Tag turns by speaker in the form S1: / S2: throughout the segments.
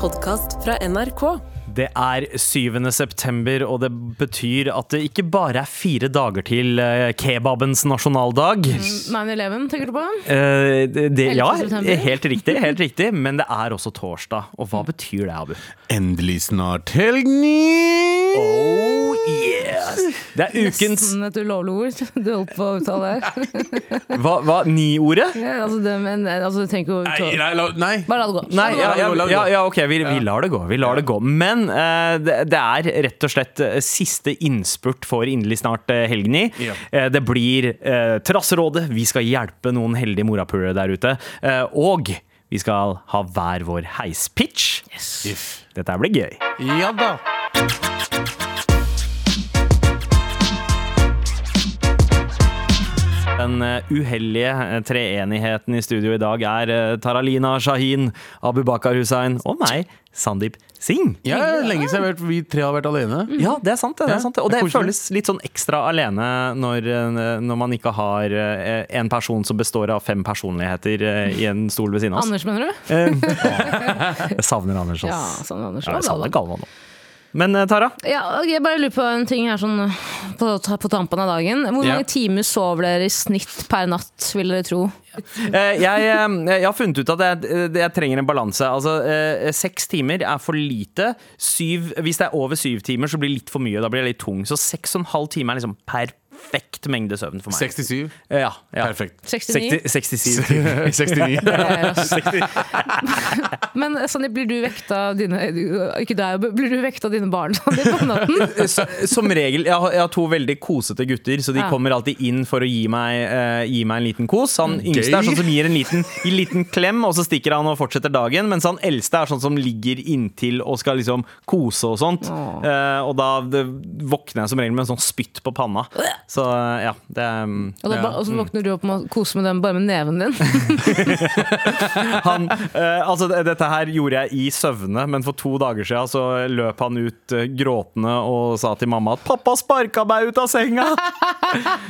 S1: podkast fra NRK.
S2: Det er 7. september, og det betyr at det ikke bare er fire dager til eh, kebabens nasjonaldag.
S3: 9-11, tenker du på?
S2: Eh, det, det, ja,
S3: 11. Mm. september.
S2: helt riktig, helt riktig, men det er også torsdag. Og hva betyr det, Abu?
S4: Endelig snart helgni!
S2: Oh yes! Det er ukens
S3: Sånn et ulovlig ord du holdt på å uttale her.
S2: Hva? hva Ni-ordet?
S3: Ja, altså, det, men, altså, du trenger ikke å
S4: Nei,
S3: uttale
S4: nei, la- nei.
S3: Bare la det gå. Sånn,
S2: Nei, ja,
S4: La det
S2: ja,
S4: gå, la det
S2: ja,
S4: gå.
S2: ja, ok, vi, vi lar det gå. Vi lar det gå. Men eh, det, det er rett og slett eh, siste innspurt for inderlig snart eh, helgen i.
S4: Ja.
S2: Eh, det blir eh, Trasserådet, vi skal hjelpe noen heldige morapulere der ute. eh, og vi skal ha hver vår heispitch.
S4: If.
S2: Dette her blir gøy.
S4: Ja da.
S2: Den eh, uheldige eh, treenigheten i studio i dag er eh, Taralina Shahin, Abubakar Hussein og meg, Sandeep Singh.
S4: Ja, det er lenge siden jeg har vært, vi tre har vært alene.
S2: Ja, det er sant. Det, det
S4: Mm-hmm. Ja,
S2: er sant det. Og
S4: det
S2: det
S4: er koselig.
S2: føles litt sånn ekstra alene når, eh, når man ikke har eh, en person som består av fem personligheter eh, i en stol ved siden av oss.
S3: Anders, mener du?
S2: Jeg savner Anders
S3: Ja,
S2: ass.
S3: sånn Anders.
S2: Ja, jeg savner Galvan òg. Men eh, Tara,
S3: Ja, ok, jeg bare lurer på en ting her sånn på, på tampen av dagen. Hvor
S4: Ja.
S3: mange timer sover dere i snitt per natt, vil dere tro?
S2: eh, jeg, eh, jeg har funnet ut at jeg, eh, jeg trenger en balanse. Altså, eh, seks timer er for lite. Syv, hvis det er over syv timer, så blir det litt for mye. Da blir jeg litt tung. Så seks og en halv time er liksom perfekt mengde søvn for meg. Eh,
S4: 67.
S2: Ja, ja.
S4: Perfekt.
S3: 69?
S2: 60 67
S4: 69.
S3: Men Sandeep, blir du vekta av dine Ikke deg, blir du vekta av dine barn Sandeep, om natten?
S2: Så, som regel, jeg har, jeg har to veldig kosete gutter, så de
S3: Ja.
S2: kommer alltid inn for å gi meg, eh, gi meg en liten kos. Han yngste er sånn som gir en liten, en liten klem, og så stikker han og fortsetter dagen. Mens han eldste er sånn som ligger inntil og skal liksom kose og sånt.
S3: Åh.
S2: Eh, og da det, våkner jeg som regel med en sånn spytt på panna. Så eh, ja, det eh, er-
S3: Og, da, ba- og så våkner du opp med å kose med dem bare med neven din?
S2: han, eh, altså, det- dette her gjorde jeg i søvne, men for to dager siden så løp han ut eh, gråtende og sa til mamma at 'pappa sparka meg ut av senga'.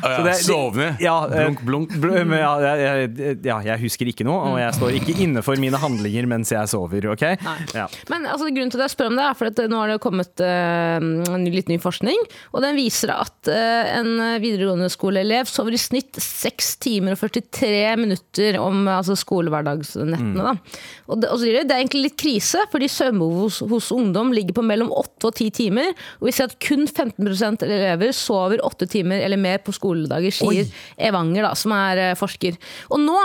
S2: Så det-
S4: Sovne.
S2: Ja, eh,
S4: Blunk, blunk.
S2: bl- men ja, jeg, jeg, ja, jeg husker ikke noe, og jeg står ikke inne for mine handlinger mens jeg sover. ok? Ja.
S3: Men altså, grunnen til at jeg spør om det er for at eh, nå har det kommet eh, en ny- litt ny forskning, og den viser at eh, en videregående skoleelev sover i snitt 6 timer og 43 minutter om eh, altså, skolehverdagsnettene. Da. Og det, og så sier de, det er egentlig litt krise, fordi søvnbehovet hos, hos ungdom ligger på mellom 8 og 10 timer, og vi ser at kun 15 av elever sover 8 timer eller mer på skoledager, sier Evanger, da, som er eh, forsker. Og nå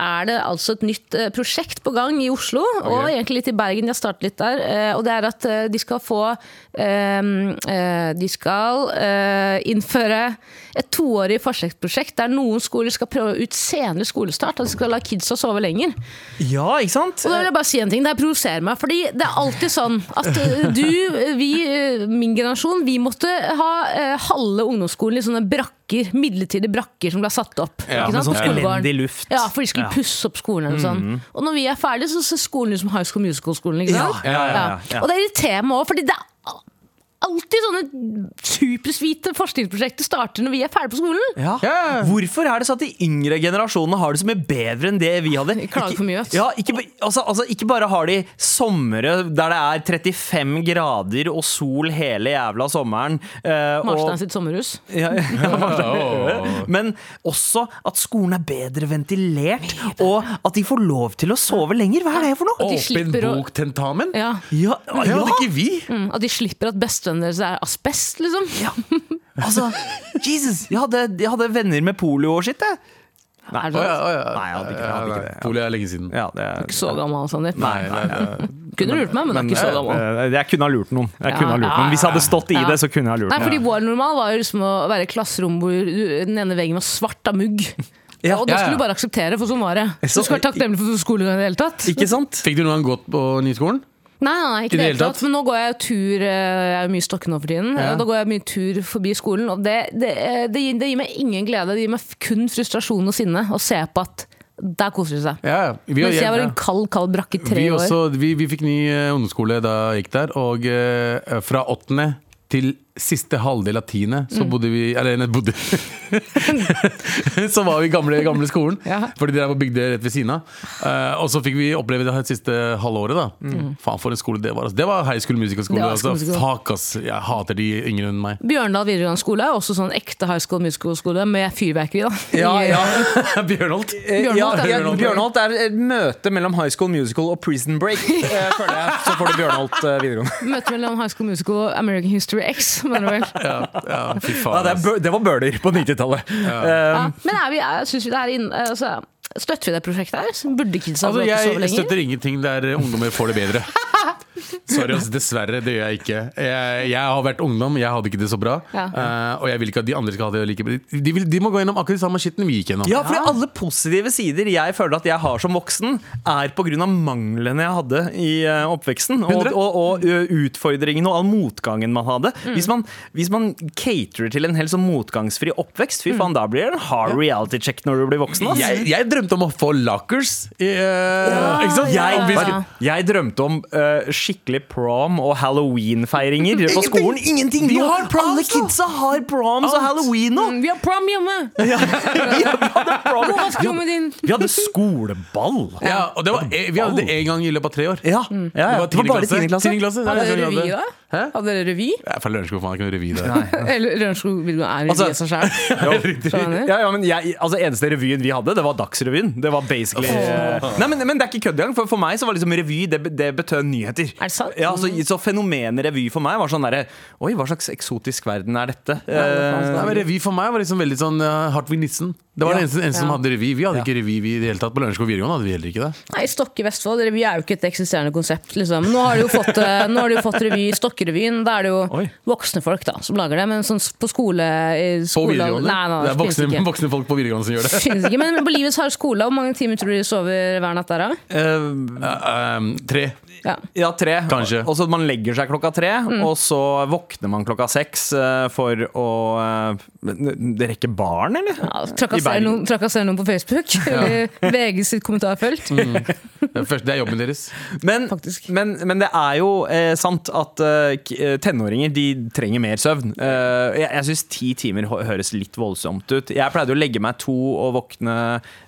S3: er det altså et nytt eh, prosjekt på gang i Oslo, og egentlig litt i Bergen. Jeg starter litt der. eh, Og det er at eh, de skal få eh, eh, De skal eh, innføre et toårig forsøksprosjekt der noen skoler skal prøve ut senere skolestart. At de skal la kidsa sove lenger.
S2: ja, ikke sant?
S3: Og da vil jeg bare si en ting, det her provoserer meg. Fordi det er alltid sånn at eh, du, eh, vi, eh, min generasjon, vi måtte ha eh, halve ungdomsskolen i sånne brakker. Midlertidige brakker som ble satt opp. ikke
S4: Ja,
S2: med
S3: sant?
S2: sånn
S3: på skolegården.
S2: elendig luft.
S3: Ja, for de skulle
S2: Ja. Mm.
S3: pusse opp skolen eller noe sånt. Og når vi er ferdige, så ser skolen ut som High School Musical-skolen. ikke sant?
S2: Ja, ja, ja, ja, ja.
S3: Og det irriterer meg òg, fordi det er al- alltid sånne supersvite forskningsprosjekter starter når vi er ferdige på skolen.
S2: Ja.
S4: Ja.
S2: Hvorfor er det sånn at de yngre generasjonene har det så mye bedre enn det vi hadde?
S3: Klager for mye, vet du.
S2: ja, ikke, ba- altså, altså, ikke bare har de somre der det er 35 grader og sol hele jævla sommeren. eh, og,
S3: Marstein sitt sommerhus.
S2: ja, ja,
S4: Åh.
S2: men også at skolen er bedre ventilert, og at de får lov til å sove lenger. Hva er det for noe?
S3: de
S4: Åpen
S3: slipper å-
S4: bok-tentamen?
S3: Ja.
S2: Ja,
S4: Det
S2: ja.
S4: hadde ikke vi.
S3: Mm, At de slipper at bestevennen deres er asbest, liksom.
S2: ja. Altså, Jesus! Jeg hadde, jeg hadde venner med polio og shit, jeg. Nei,
S3: Er det sant?
S2: Nei, jeg hadde ikke, jeg hadde ikke det.
S4: Polio er lenge siden.
S2: Ja, det er,
S3: Ikke så gammel, Sandeep.
S2: Nei, nei,
S3: Kunne lurt meg, men det er ikke så gammel.
S2: Eh, Jeg kunne ha lurt noen. Jeg kunne ha lurt
S3: Ja, ja,
S2: noen. Hvis jeg hadde stått i
S3: ja.
S2: det, så kunne jeg ha lurt
S3: Nei, fordi
S2: noen.
S3: Vår normal var jo liksom å være i et klasserom hvor du- den ene veggen var svart av mugg.
S2: Ja,
S3: og det
S4: ja, ja.
S3: skulle du bare akseptere, for sånn var det. Du
S2: Så-
S3: skal være takknemlig for skolegang i det hele tatt.
S2: Ikke sant?
S4: Fikk du noen gang gått på nyskolen?
S3: Nei, nei, nei, ikke
S4: I
S3: det
S4: det
S3: hele
S4: hele
S3: tatt. Men nå går jeg jo tur eh, Jeg er jo mye i Stokke nå for tiden. og Da går jeg mye tur forbi skolen, og det, det, eh, det, gir, det gir meg ingen glede. Det gir meg f- kun frustrasjon og sinne å se på at der koser de seg.
S4: Ja, vi,
S3: Mens jeg var i en kald, kald brakke i tre
S4: vi,
S3: år.
S4: også, vi, vi fikk ny eh, ungdomsskole da jeg gikk der, og eh, fra åttende til siste halvdel av tiende så
S3: Mm.
S4: bodde vi Eller nei, bodde Så var vi i gamle, gamle skolen,
S3: Ja.
S4: fordi de der var bygd rett ved siden av. Eh, og så fikk vi oppleve det her siste halvåret. da Faen, for en skole det var. Altså. Det var high school musical-skole.
S3: Mm. Det var
S4: Altså.
S3: high school musical.
S4: Fuck, ass. Jeg hater de yngre enn meg.
S3: Bjørndal videregående skole er også sånn ekte high school musical-skole med fyrverkeri. da I-
S4: Bjørnholt.
S2: Eh,
S3: Bjørnholt
S2: ja,
S3: er-
S2: ja, Bjørnholt er et møte mellom High School Musical og Prison Break. eh, føler jeg. Så får du Bjørnholt eh, videregående.
S3: Møte mellom High School Musical og American History X. mener du vel?
S4: Ja, ja, fy
S2: Ja,
S4: faen.
S2: det, er,
S4: ass.
S2: bø- det var bøler på 90-tallet.
S3: Ja.
S2: Eh,
S3: Men er vi, er, synes vi det er inn, altså, støtter vi det prosjektet her? Så Burde kidsa
S4: Altså,
S3: altså, sove
S4: jeg
S3: lenger?
S4: støtter ingenting der ungdommer får det bedre. Sorry, ass, dessverre. Det gjør jeg ikke. Jeg, jeg har vært ungdom, jeg hadde ikke det så bra.
S3: Ja.
S4: eh, og jeg vil ikke at de andre skal ha det like bra. De, vil, de må gå gjennom akkurat samme skitten vi gikk gjennom.
S2: Ja, fordi alle positive sider jeg føler at jeg har som voksen, er pga. manglene jeg hadde i eh, oppveksten. Og,
S4: 100.
S2: og, og ø, utfordringene og all motgangen man hadde. Hvis, man, hvis man caterer til en helt sånn motgangsfri oppvekst, fy faen, da blir det en hard reality check når du blir voksen. Ass.
S4: Jeg, jeg drømte om å få lockers. i, eh, ikke sant?
S3: ja,
S2: Jeg,
S4: Om vi
S3: ja.
S4: skulle-
S2: jeg drømte om eh, skikkelig prom og halloween-feiringer på skolen. Ingenting!
S4: Vi
S2: nå.
S4: har altså- proms,
S2: Alle
S4: da.
S2: kidsa har proms og halloween nå!
S3: Mm, Vi har prom hjemme! Gå opp komedien!
S2: Vi hadde skoleball.
S4: Ja, og det var, e- vi hadde det én gang i løpet av tre år.
S2: Ja, ja, ja.
S4: Det var tiende klasse. Tiende klasse, det er
S3: Hadde dere
S4: det vi
S3: revy
S4: hadde.
S3: da?
S4: Hæ?
S3: Hadde dere revy?
S4: Jeg er fra Lørenskog, faen. Jeg kan revy der.
S3: Eller Lørenskog videregående er
S2: Altså-
S3: revy av seg sjøl.
S2: Ja.
S3: Skjønner du?
S2: Ja, ja, men jeg, altså Eneste revyen vi hadde, det var Dagsrevyen. Det var basically eh, Nei, men, men det er ikke kødd engang. For, for meg så var liksom revy det, det betød nyheter.
S3: Er det sant?
S2: Ja, så, så fenomenet revy for meg var sånn derre Oi, hva slags eksotisk verden er dette? Eh,
S4: Nei, men Revy for meg var liksom veldig sånn uh, Hartvig Nissen. Det var
S2: Ja.
S4: det eneste, eneste som
S3: Ja.
S4: hadde revy. Vi hadde ikke revy vi, i det hele tatt. På Lørenskog videregående hadde vi heller ikke det.
S3: Nei, Stokke Vestfold, revy er jo ikke et eksisterende konsept. Liksom. Nå har de jo fått, eh, nå har de jo fått revy i Stokkerevyen. Da er det jo
S2: Oi.
S3: voksne folk da, som lager det. Men sånn s- på skole, i
S4: På
S3: skole
S4: videregående.
S3: Nei, nei,
S4: det er
S3: finnes
S4: voksne,
S3: ikke.
S4: voksne folk på videregående som gjør det.
S3: Finnes ikke, men på livets harde skole, hvor mange timer tror du de sover hver natt der, da?
S2: eh,
S4: Eh, um, tre.
S3: Ja.
S2: ja, tre.
S4: Kanskje.
S2: Og så man legger seg klokka tre,
S3: Mm.
S2: og så våkner man klokka seks eh, for å eh, Det rekker barn, eller?
S3: Ja,
S2: I
S3: Trakassere
S2: Bergen.
S3: noen, trakassere noen på Facebook, eller VG sitt kommentarfelt.
S4: Det er, først, det er jobben deres.
S2: Men,
S3: Faktisk.
S2: men, men det er jo eh, sant at eh, k- eh, tenåringer de trenger mer søvn. Eh, jeg jeg syns ti timer hø- høres litt voldsomt ut. Jeg pleide å legge meg to og våkne,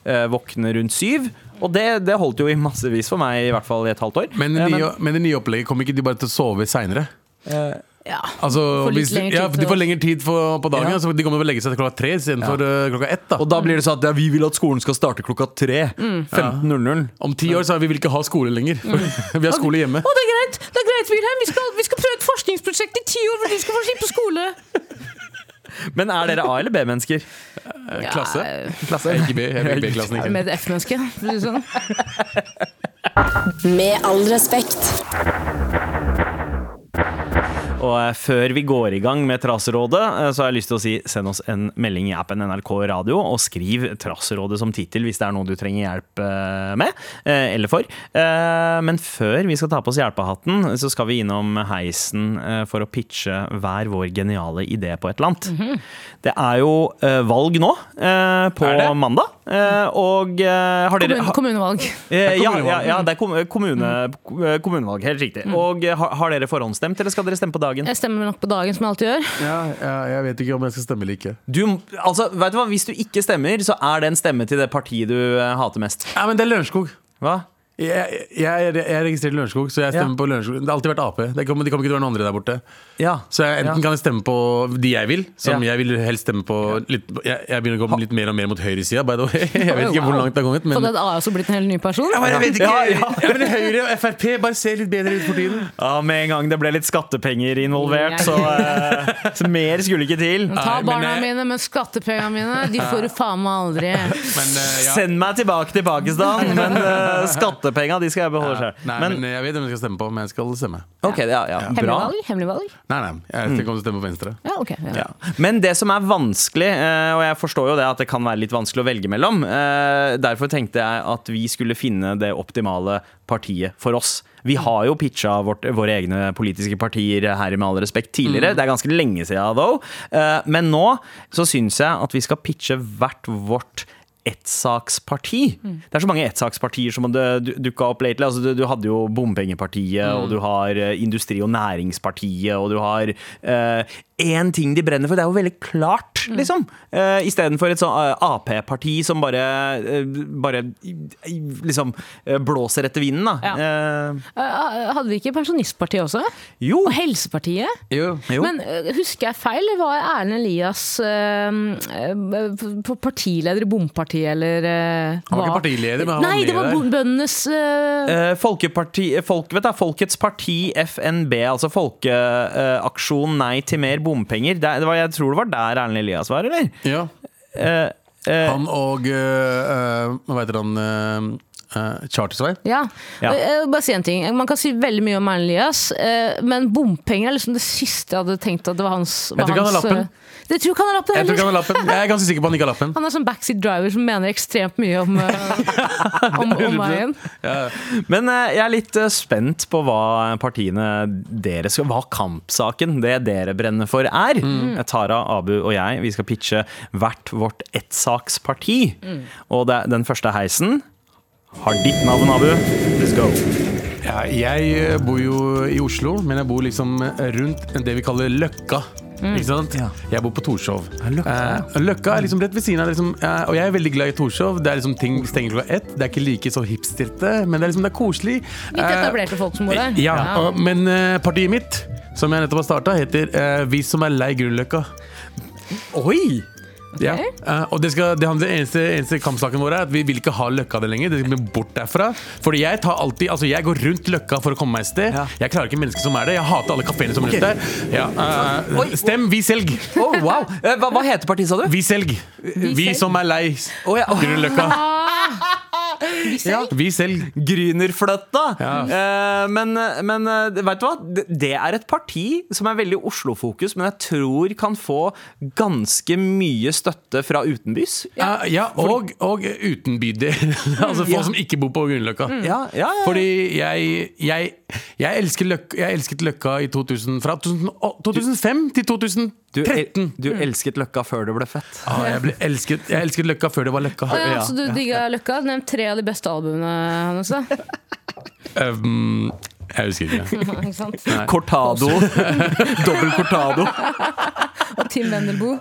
S2: eh, våkne rundt syv. Og det, det holdt jo i massevis for meg, i hvert fall i et halvt år.
S4: Men det
S2: Eh,
S4: nye, men det nye opplegget kommer ikke de bare til å sove seinere?
S3: Ja.
S4: Altså,
S3: Får litt
S4: hvis de-
S3: lengre tid
S4: ja,
S3: til
S4: de
S3: å-
S4: får lengre tid for, på dagen.
S2: Ja.
S4: Så de kommer til å legge seg til klokka tre istedenfor ja. klokka ett. Da.
S2: og da blir det sånn at ja, vi vil at skolen skal starte klokka tre. 15.00.
S4: Om ti år så er vi vil ikke ha skole lenger.
S3: Mm.
S4: vi har skole hjemme.
S3: Å, det er greit, det er greit, Wilhelm! Vi skal, vi skal prøve et forskningsprosjekt i ti år hvor du skal få slippe skole!
S2: Men er dere A- eller B-mennesker?
S4: Eh, Klasse.
S3: Ja,
S4: Klasse. Jeg er ikke B, jeg er B-klassen.
S3: jeg er
S4: ikke.
S3: Med et F-menneske. for å si det Sånn.
S1: Med all respekt.
S2: Og eh, før vi går i gang med Traserådet, eh, så har jeg lyst til å si send oss en melding i appen NRK Radio, og skriv Traserådet som tittel hvis det er noe du trenger hjelp eh, med, eh, eller for. Eh, Men før vi skal ta på oss hjelpehatten, så skal vi innom heisen eh, for å pitche hver vår geniale idé på et eller annet. Det er jo eh, valg nå, eh, på
S4: Er det?
S2: mandag, eh, og eh, har dere
S3: Kommune, kommunevalg.
S2: Eh, ja,
S4: kommunevalg.
S2: ja, ja, det er kom- kommune, kommunevalg, helt riktig. Og eh, har, har dere forhåndsstemt, eller skal dere stemme på dagen?
S3: Jeg stemmer nok på dagen, som jeg alltid gjør.
S4: Ja, ja, jeg vet ikke om jeg skal stemme eller ikke.
S2: Du, altså, vet du hva? Hvis du ikke stemmer, så er det en stemme til det partiet du eh, hater mest.
S4: Nei, men det er Lørenskog.
S2: Hva?
S4: Jeg, jeg, jeg er registrert i Lørenskog, så jeg stemmer
S2: Ja.
S4: på Lørenskog. Det har alltid vært Ap. Det kommer, det kommer ikke til å være noen andre der borte.
S2: Ja.
S4: Så jeg, enten
S2: Ja.
S4: kan jeg stemme på de jeg vil, som
S2: Ja.
S4: jeg vil helst stemme på litt, jeg, jeg begynner å gå litt mer og mer mot høyresida, by the way. Jeg vet ikke hvor langt det har kommet,
S3: For
S4: men
S3: det har jeg også blitt en helt ny person.
S4: jeg vet
S2: ikke.
S4: men Høyre og Frp bare ser litt bedre ut for tiden.
S2: ja, Med en gang det ble litt skattepenger involvert, så, eh, så mer skulle ikke til.
S3: Ta
S4: Nei, men
S3: barna
S4: jeg-
S3: mine med skattepengene mine, de får du faen meg aldri.
S4: Men, eh, ja.
S2: Send meg tilbake til Pakistan, men eh, skattepenga de skal jeg beholde sjøl.
S4: Nei, men, eh,
S2: Men
S4: jeg vet hvem jeg skal stemme på, men jeg skal stemme.
S2: ok, ja, ja,
S3: Hemmelig
S2: bra.
S3: valg? Hemmelig valg?
S4: Nei, nei, jeg skal komme til å stemme på Venstre.
S3: Ja, ok. Ja.
S2: Men det som er vanskelig, eh, og jeg forstår jo det at det kan være litt vanskelig å velge mellom, eh, derfor tenkte jeg at vi skulle finne det optimale partiet for oss. Vi har jo pitcha vårt, våre egne politiske partier her i Med all respekt tidligere. Det er ganske lenge siden, though. Eh, Men nå så syns jeg at vi skal pitche hvert vårt ettsaksparti.
S3: Mm.
S2: Det er så mange ettsakspartier som har dukka opp lately. Altså, du, du hadde jo
S3: Mm.
S2: Bompengepartiet, og du har eh, Industri- og Næringspartiet, og du har eh, én ting de brenner for. Det er jo veldig klart,
S3: Mm.
S2: liksom. Uh, Istedenfor et sånn eh, Ap-parti som bare, eh, bare i- i- liksom eh, blåser etter vinden, da. Eh,
S3: Eh, Hadde vi ikke Pensjonistpartiet også?
S2: jo.
S3: Og Helsepartiet?
S4: Jo.
S2: jo.
S3: Men eh, husker jeg feil? Det var Erlend Elias eh, eh, partileder i Bompartiet, eller eh,
S4: Han var
S3: hva?
S4: ikke partileder, men han var
S3: Nei,
S4: med
S3: det var
S4: der.
S3: bo- bøndenes eh,
S2: Eh, Folkeparti, eh, folk, vet du, Folkets Parti, FNB, altså Folkeaksjon Nei til mer bompenger. Det, det var, jeg tror det var der Erlend Elias var, eller?
S4: Ja. han og øh, øh, Hva heter han øh, øh, Chartersveien?
S3: Ja.
S2: Ja.
S3: Og Jeg vil bare si en ting. Man kan si veldig mye om Erlend Elias, eh, men bompenger er liksom det siste jeg hadde tenkt at det var hans var
S4: tror ikke han har
S3: hans,
S4: lappen.
S3: eh, Jeg tror ikke han har lappen
S4: Jeg tror ikke
S3: heller.
S4: han har lappen. Jeg er ganske sikker på han ikke har lappen.
S3: Han er sånn backseat driver som mener ekstremt mye om, eh, om, om veien.
S2: Men eh, jeg er litt eh, spent på hva partiene dere skal Hva kampsaken det dere brenner for er. Eh, Tara, Abu og jeg vi skal pitche hvert vårt ettsaksparti. Og det, den første heisen har ditt navn, Abu. Let's go.
S4: Ja, jeg øh, bor jo i Oslo, men jeg bor liksom rundt det vi kaller Løkka. Ikke sant?
S2: Mm. Ja.
S4: Jeg bor på Torshov.
S2: Løkka,
S4: Eh, Løkka er liksom rett ved siden av. Liksom, eh, og jeg er veldig glad i Torshov. Det er liksom ting stenger klokka ett. Det er ikke like så hipsterte, men det er liksom det er koselig.
S3: Litt
S4: Eh,
S3: etablerte folk som bor der.
S4: Ja, og- Men eh, partiet mitt, som jeg nettopp har starta, heter eh, Vi som er lei Grünerløkka.
S2: Oi!
S4: Ja. Eh, og det, skal, det, handler- eneste, eneste kampsaken vår er at vi vil ikke ha Løkka det lenger. Det skal bli bort derfra. Fordi jeg tar alltid Altså jeg går rundt Løkka for å komme meg et sted.
S2: Ja.
S4: Jeg klarer ikke mennesker som er der. Jeg hater alle kafeene som er rundt der. Ja, eh,
S2: Oi.
S4: stem Vi selg!
S2: Oh, wow. Eh, Hva, hva heter partiet, sa du?
S4: Vi selg! Vi
S3: selg.
S4: som er lei
S2: Oh, ja. oh,
S4: Grünerløkka.
S2: ja.
S4: Vi selg!
S2: Grünerfløtta!
S4: Ja.
S2: Eh, men men eh, vet du hva? Det- Det er et parti som er veldig Oslo-fokus, men jeg tror kan få ganske mye støtte fra utenbys.
S4: Eh, ja, og, og uten bydel. altså folk
S2: Ja.
S4: som ikke bor på Grünerløkka.
S3: Mm.
S2: Ja, ja, ja.
S4: Fordi jeg, jeg, jeg, elsker løk, jeg elsket Løkka i 2000, fra 2000, å, 2005 til 2013.
S2: Du, el du elsket Løkka før det ble fett.
S4: Ah, jeg, ble elsket, jeg elsket Løkka før det var Løkka.
S3: Å ja,
S2: Ja,
S3: så du digga Løkka? Nevn tre av de beste albumene hans. da.
S4: Um, jeg husker ikke.
S3: Ikke sant?
S2: Cortado. Dobbel Cortado.
S3: Og Tim Wendelboe.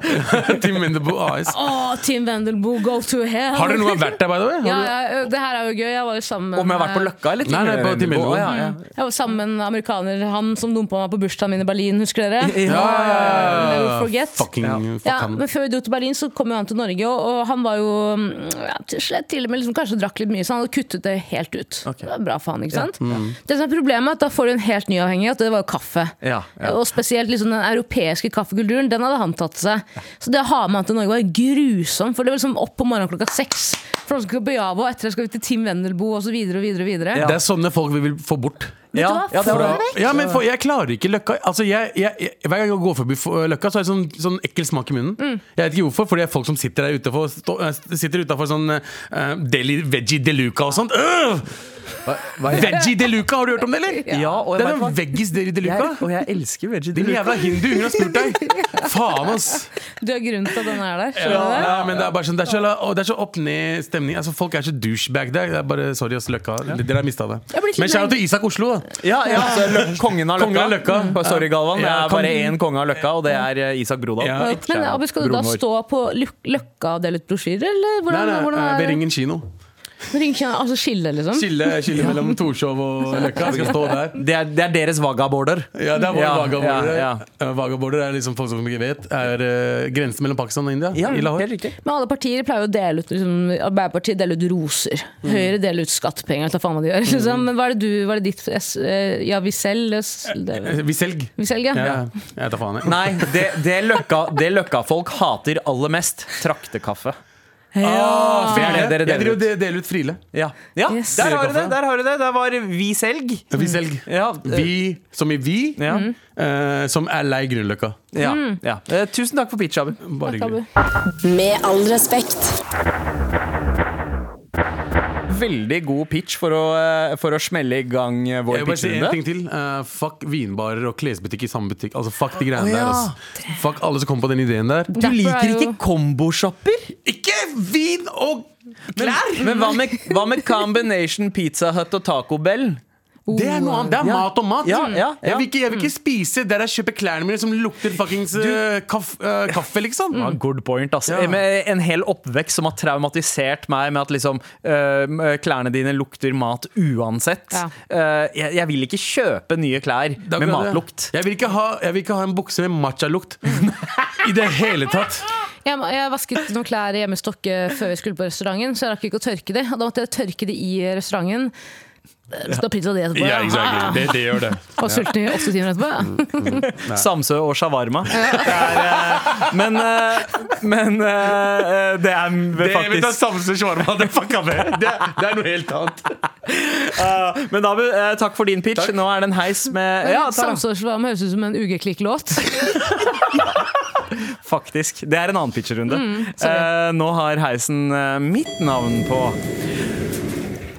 S4: Team Mendebo AS.
S3: Å, Tim Wendelboe, go to hell!
S4: Har dere noen gang vært der, by the way?
S3: ja,
S4: Har du-
S3: ja, det her er jo gøy. Jeg var jo sammen
S2: Om jeg har vært på Løkka, eller?
S4: Nei, nei, på Team Elvo.
S2: Å, ja, ja.
S3: Jeg var sammen med en amerikaner, han som dumpa meg på bursdagen min i Berlin, husker dere?
S2: Ja, ja, ja.
S3: Never forget.
S4: Fucking fuck
S3: Ja,
S4: han.
S3: men Før vi dro til Berlin, så kom jo han til Norge, og, og han var jo mm, ja, til slett til og med liksom, kanskje drakk litt mye, så han hadde kuttet det helt ut. Det var bra for han, ikke sant?
S2: Mm.
S3: Det som er Problemet er at da får du en helt ny avhengighet, og det var jo kaffe.
S2: Ja, ja.
S3: Og spesielt liksom, den europeiske kaffekulturen, den hadde han tatt til seg. Så det å ha med han til Norge var grusomt, for det var liksom opp på morgenen klokka seks. For han skal på Java, og etter det skal vi til Tim Wendelboe, og så videre og videre. og videre.
S2: Ja.
S4: Det er sånne folk vi vil få bort.
S2: Ja, ja, det
S3: Fra-
S2: var
S4: Fra,
S2: det.
S4: ja, men for, jeg klarer ikke Løkka. Altså, jeg, jeg, jeg, hver gang jeg går forbi for- Løkka, så er det sånn, sånn ekkel smak i munnen.
S3: Mm.
S4: Jeg vet ikke hvorfor, for det er folk som sitter der utenfor, stå, eh, sitter utenfor sånn eh, deli, Veggie de Luca og sånt. Øh! Veggie de Luca, har du hørt om det, eller?
S2: Ja, og jeg
S4: det er
S2: vet hva-
S4: noen veggis deli de
S2: Jeg,
S4: Luca.
S2: og jeg elsker veggie
S4: Din jævla hindu, hun har spurt deg! Faen, ass!
S3: Du har grunn til at den er der.
S4: Ja,
S3: skjønner du det?
S4: men det er bare sånn Det er så, og det er så opp ned stemning. Altså, folk er så douchebag der. Det er bare Sorry, ass, Løkka. Dere har mista det.
S3: Jeg blir litt
S4: Men
S3: lei-
S4: kjære til Isak Oslo, da.
S2: Ja, ja. altså, lø- Kongen av Løkka.
S4: Kongen av Løkka.
S2: Mm. Sorry, Galvan. Det
S4: Ja,
S2: er bare
S4: kongen.
S2: én konge av Løkka, og det er eh, Isak Brodal.
S4: Ja.
S2: Nei,
S3: Men Abu, skal du da
S2: broren vår.
S3: stå på Løk- Løkka og dele ut brosjyrer, eller hvordan,
S4: Nei, nei,
S3: hvordan
S4: eh,
S3: er
S4: ved
S3: det?
S4: Ringen kino.
S3: Ring ikke- Altså skille, liksom?
S2: Mm.
S4: Skille, skille mellom Torshov og Løkka. Jeg skal stå der.
S2: Det er, det er deres vagaborder.
S4: Ja, det er våre
S2: Ja,
S4: vagaborder.
S2: ja,
S4: Eh, Vagaborder er liksom folk som ikke vet Er eh, grensen mellom Pakistan og India. I Lahore.
S2: riktig.
S3: Men alle partier pleier jo å dele ut liksom, Arbeiderpartiet deler ut roser. Høyre deler ut skattepenger. Ta faen hva de gjør. Liksom. Men hva er det du Hva er det ditt S, eh, Ja, vi selv s- det-
S4: Eh, Vi selg.
S3: Vi selv, ja.
S4: Ja, jeg tar faen, jeg.
S2: Nei, det, det, løkka, det løkkafolk hater aller mest, traktekaffe.
S4: Ah,
S2: Det er det dere
S4: frile. Jeg
S2: deler ut.
S4: driver og de- deler ut frile.
S2: Ja, ja
S3: Yes.
S2: der har du det! Der har du det Der var vi selg.
S4: Vi selg.
S2: Ja, eh,
S4: Vi, som i vi,
S2: ja,
S4: eh, som er lei Grünerløkka.
S2: ja, ja. Eh, Tusen takk for pitch, Abu.
S4: Bare
S3: Tabu.
S4: hyggelig.
S1: Med all respekt.
S2: Veldig god pitch for å, eh, for å smelle i gang eh,
S4: Jeg
S2: vår
S4: vil bare si en ting
S2: pitchrunde.
S4: til. Eh, fuck vinbarer og klesbutikk i samme butikk. Altså Fuck de greiene
S2: Å, ja.
S4: der. Altså. Fuck alle som kom på den ideen der.
S2: Du
S3: Derfor er
S2: liker
S3: jo-
S2: ikke komboshopper?
S4: Ikke vin og
S2: Men, men hva, med, hva med Combination Pizza Hut og Taco Bell?
S4: Det er noe annet. Det er
S2: Ja.
S4: mat og mat.
S2: Ja, ja, ja.
S4: Jeg, vil ikke, jeg vil ikke spise der jeg kjøper klærne mine som lukter fuckings eh, kaff, eh, kaffe, liksom.
S2: Ja, good point, ass.
S4: Ja.
S2: Med en hel oppvekst som har traumatisert meg med at liksom øh, klærne dine lukter mat uansett.
S3: Ja.
S2: Øh, jeg, jeg vil ikke kjøpe nye klær
S4: Det er
S2: med
S4: akkurat det.
S2: matlukt.
S4: Jeg vil, ikke ha, jeg vil ikke ha en bukse med matcha-lukt. I det hele tatt.
S3: Jeg, jeg vasket noen klær hjemme i Stokke før vi skulle på restauranten, så jeg rakk ikke å tørke de. Og da måtte jeg tørke de i restauranten. Så da prinsa de etterpå. ja. Ah,
S4: Det, gjør det.
S3: Og sulten i åtte timer etterpå.
S2: Samsø og shawarma. Det er, øh, men øh, men øh, det er
S4: vet du,
S2: faktisk
S4: Samse shawarma, det fucka med. Det, det er noe helt annet.
S2: øh, Men Dabu, øh, takk for din pitch. Nå er det en heis med ja, Tara.
S3: Samsårsvarme høres ut som en ugeklikk låt.
S2: Faktisk. Det er en annen pitcherunde. Eh, nå har heisen eh, mitt navn på.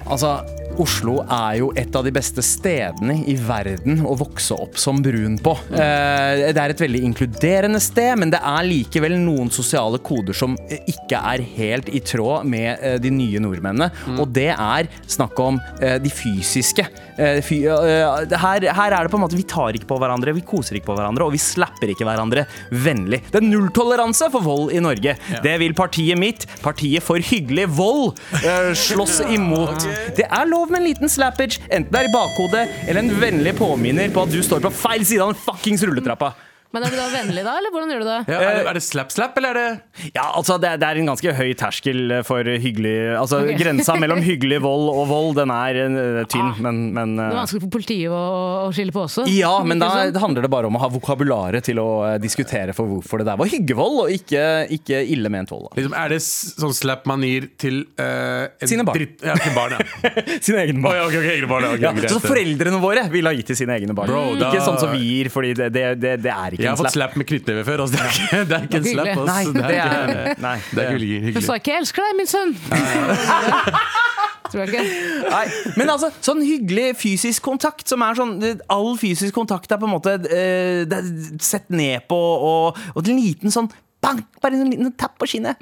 S2: Altså, Oslo er jo et av de beste stedene i verden å vokse opp som brun på. Eh, det er et veldig inkluderende sted, men det er likevel noen sosiale koder som eh, ikke er helt i tråd med eh, de nye nordmennene. Og det er snakk om eh, de fysiske. Eh, fy, eh, det her, her er det på en måte Vi tar ikke på hverandre, vi koser ikke på hverandre, og vi slapper ikke hverandre vennlig. Det er nulltoleranse for vold i Norge. Det vil partiet mitt, partiet for hyggelig vold, eh, slåss imot. Det er lov med en liten slappage, enten det er i bakhodet eller en vennlig påminner på at du står på feil side av den fuckings rulletrappa.
S3: Men er du da vennlig, da? Eller hvordan gjør du det?
S4: Ja, er, det, er det slap slap, eller er det
S2: Ja, altså det, er- det er en ganske høy terskel for hyggelig Altså
S3: Ok.
S2: grensa mellom hyggelig vold og vold, den er eh, tynn, men, men eh,
S3: Ah. Det er vanskelig for politiet å, å skille på også.
S2: Ja, men da
S3: Ikke sant?
S2: det handler det bare om å ha vokabularet til å eh, diskutere for hvorfor det der var hyggevold, og ikke, ikke ille ment vold. da.
S4: liksom, Er det s- sånn slap man gir til eh, en
S2: Sine barn.
S4: Dritt, ja, til barn, ja.
S2: Sine egne
S4: Å, ja, ok, ok, egne barn, ja, ok,
S2: Ja,
S4: greit.
S2: så foreldrene våre ville ha gitt til sine egne barn.
S4: Bro, da-
S2: Ikke sånn som vi gir, Fordi det, det, det, det er ikke
S4: Jeg har
S2: en
S4: fått
S2: slap.
S4: slap med knyttneve før. Altså. Det, er ikke, det er ikke en slap.
S3: Hyggelig.
S4: Altså.
S2: Nei,
S4: det er, ikke-
S2: det er, nei,
S4: det er ikke hyggelig.
S3: Du
S4: hyggelig.
S3: sa ikke 'jeg elsker deg, min sønn'. Tror jeg ikke.
S2: Nei, men altså, sånn hyggelig fysisk kontakt som er sånn det- All fysisk kontakt er på en måte eh, det er sett ned på, og, og en liten sånn bang, bare en liten tapp på skinnet.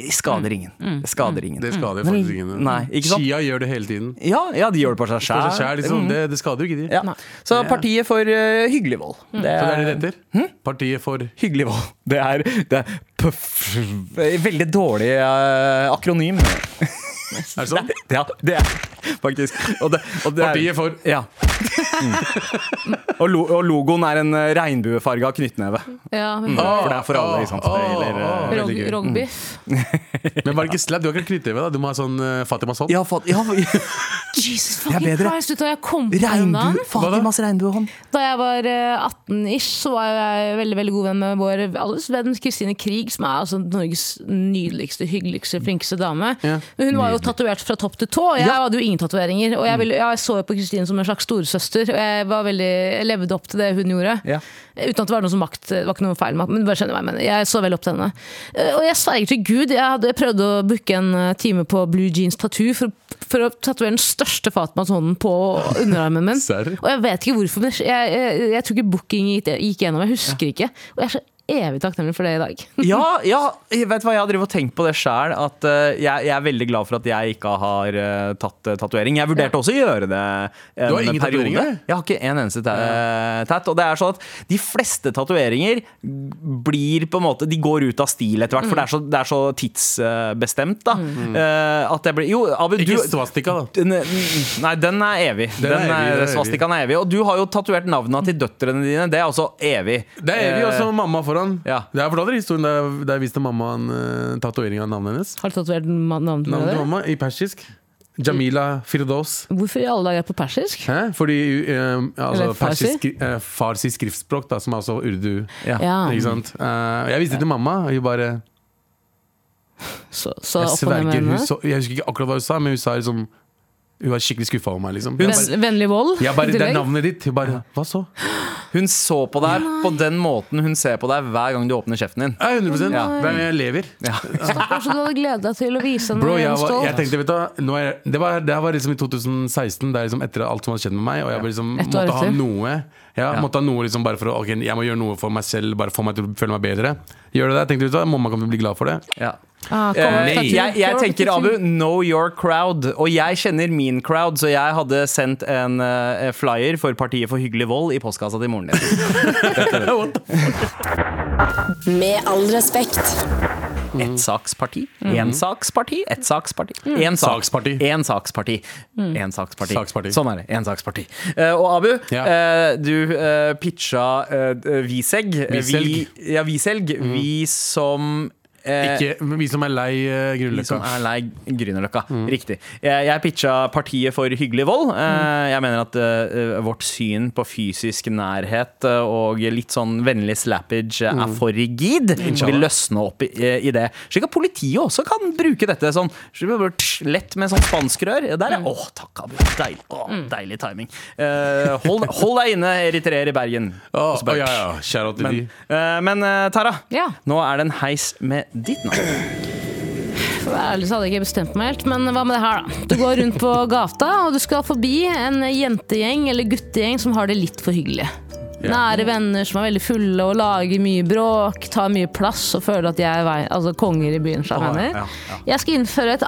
S2: Det skader ingen. Det skader ingen.
S4: Det skader
S2: Mm. Men-
S4: faktisk ingen.
S2: Nei, ikke sant?
S4: Chia gjør det hele tiden.
S2: Ja, ja, de gjør det på seg
S4: For seg
S2: sjæl.
S4: selv, liksom. det, det skader jo ikke de.
S2: Ja. Så partiet for eh, hyggelig vold. Det
S4: Så det er
S2: er
S4: det det heter?
S2: Hm?
S4: Partiet for
S2: hyggelig vold. Det er, det er puff, Veldig dårlig eh, akronym.
S4: Er det sånn?
S2: Ja, det er faktisk. Og det, og det er-
S4: Partiet for-
S2: Ja. Og, lo, og logoen er en eh, regnbuefarga knyttneve.
S3: Ja,
S2: For det er for alle, ikke sant.
S4: Ah,
S2: Det gjelder, eh,
S3: rog,
S4: veldig gøy.
S3: Rogbiff.
S4: Men var det ikke slap? Du har ikke knyttneve, da? Du må ha sånn eh, Fatima sånn?
S2: ja, fat, ja,
S3: Jesus
S2: Det er
S3: fucking
S2: bedre.
S3: Christ, vet du hva jeg kom på en dag?
S2: regnbue, Fatimas regnbuehånd.
S3: Da jeg var eh, 18-ish, så var jeg veldig veldig god venn med vår alles venn Kristine Krig, som er altså Norges nydeligste, hyggeligste, flinkeste dame. Men Hun var jo tatovert fra topp til tå, og jeg hadde jo ingen tatoveringer.
S2: Mm.
S3: Og jeg, ville, jeg så jo på Kristine som en slags storesøster, og jeg, var veldig, jeg levde opp til det hun gjorde.
S2: Ja.
S3: Uten at det var noe som makt, det var ikke noe feil med men du bare skjønner hva jeg mener. Jeg så veldig opp til henne. Eh, Og jeg sverger til Gud, jeg hadde prøvd å booke en eh, time på Blue Jeans Tattoo for, å- for å tatovere den største Fatmas-hånden på underarmen min.
S4: Serr?
S3: Og jeg vet ikke hvorfor, men jeg, jeg, jeg tror ikke booking gikk, gikk gjennom, jeg husker ikke. Og jeg er så evig takknemlig for det i dag.
S2: Ja, ja, jeg vet hva, jeg har drevet og tenkt på det sjæl. At eh, jeg, jeg er veldig glad for at jeg ikke har eh, tatt uh, tatovering. Jeg vurderte også å gjøre det en
S4: Du har ingen
S2: periode.
S4: tatoveringer?
S2: Jeg har ikke en eneste ta eh, tatt. Og det er sånn at de fleste tatoveringer blir på en måte De går ut av stil etter hvert, for det er så, det er så tidsbestemt, da. Eh, at jeg blir Jo, Abu, du
S4: Mm. Ikke svastika, da.
S2: den, nei, den er evig. Den er,
S4: Den er evig, den er evig.
S2: svastikaen er evig. Og du har jo tatovert navnene til døtrene dine. Det er også evig.
S4: Det er evig
S2: Eh,
S4: også mamma foran.
S2: ja.
S4: Det er fortalt historien der, der jeg viste mamma en uh, tatovering av navnet hennes.
S3: Har du tatovert ma- navnet på
S4: Navnet til
S3: det?
S4: mamma i persisk. Jamila Firdaus.
S3: Hvorfor i alle dager er jeg på persisk?
S4: Hæ? Fordi eh, altså,
S3: Eller farsi?
S4: persisk, eh, farsi skriftspråk, da, som er altså urdu.
S2: Ja.
S3: Ja,
S4: Ikke sant? Eh, jeg viste det til mamma, og hun bare
S3: så, så
S4: Jeg
S3: opp og ned med
S4: sverger, hun
S3: henne.
S4: så, jeg husker ikke akkurat hva hun sa, men hun sa liksom Hun var skikkelig skuffa over meg, liksom. Jeg bare,
S3: Venn, vennlig vold?
S4: jeg
S3: i
S4: bare, det er
S3: tillegg.
S4: navnet ditt. Hun bare Hva så?
S2: Hun så på deg på den måten hun ser på deg hver gang du åpner kjeften din.
S4: Ja, 100
S2: Ja.
S4: Hvem jeg lever.
S3: Stakkars, du hadde gledet deg til å vise henne
S4: Bro, jeg,
S3: en
S4: var, jeg
S3: stolt.
S4: tenkte, vet du hva, nå er, jeg- det, var, det her var liksom i 2016, det er liksom etter alt som hadde skjedd med meg. Og jeg bare liksom,
S3: Et år
S4: måtte ha
S3: etter.
S4: noe ja, måtte ha noe liksom bare for å, ok, jeg må gjøre noe for meg selv, bare få meg til å føle meg bedre. Gjør det der, tenkte du, vet du hva, Mamma kommer til å bli glad for det.
S2: Ja.
S3: Ah, kom,
S2: Eh,
S3: takk.
S2: jeg, jeg tenker,
S3: Takk.
S2: Abu, know your crowd. Og jeg kjenner min crowd, så jeg hadde sendt en eh, flyer for Partiet for hyggelig vold i postkassa til moren din.
S1: Med all respekt.
S2: Ettsaksparti, ensaksparti, ettsaksparti. En
S4: Saksparti.
S2: En saksparti. En saksparti.
S4: Saksparti.
S2: Sånn er det. En saksparti. Eh, og Abu,
S4: Ja.
S2: eh, du eh, pitcha eh, Visegg. Vi,
S4: Viselg.
S2: ja, Viselg. Vi
S4: Mm.
S2: som eh,
S4: Ikke vi som er lei uh,
S2: De som
S4: Grünerløkka.
S2: er lei Liksom, eh, Grünerløkka. Riktig. Jeg, jeg pitcha Partiet for hyggelig vold. Eh, Jeg mener at eh, vårt syn på fysisk nærhet eh, og litt sånn vennlig slappage eh, er for rigid. Vi løsner opp i, eh, i det. Slik at politiet også kan bruke dette sånn lett med sånn spanskrør. Ja, Der er Å, takk, Abu. Deilig, Å, deilig timing. Eh, hold, hold deg inne, eritreer i Bergen.
S4: Å,
S2: Og så bare-
S4: å, ja, ja. Kjære til de.
S2: Eh, Men eh, Tara,
S3: Ja.
S2: nå er det en heis med ditt navn.
S3: For å være ærlig så hadde jeg ikke bestemt meg helt, men hva med det her, da? Du går rundt på gata, og du skal forbi en jentegjeng eller guttegjeng som har det litt for hyggelig. Nære venner som er veldig fulle og lager mye bråk, tar mye plass og føler at de er vei, altså konger i byen. Oh,
S2: ja, ja,
S3: Jeg skal innføre et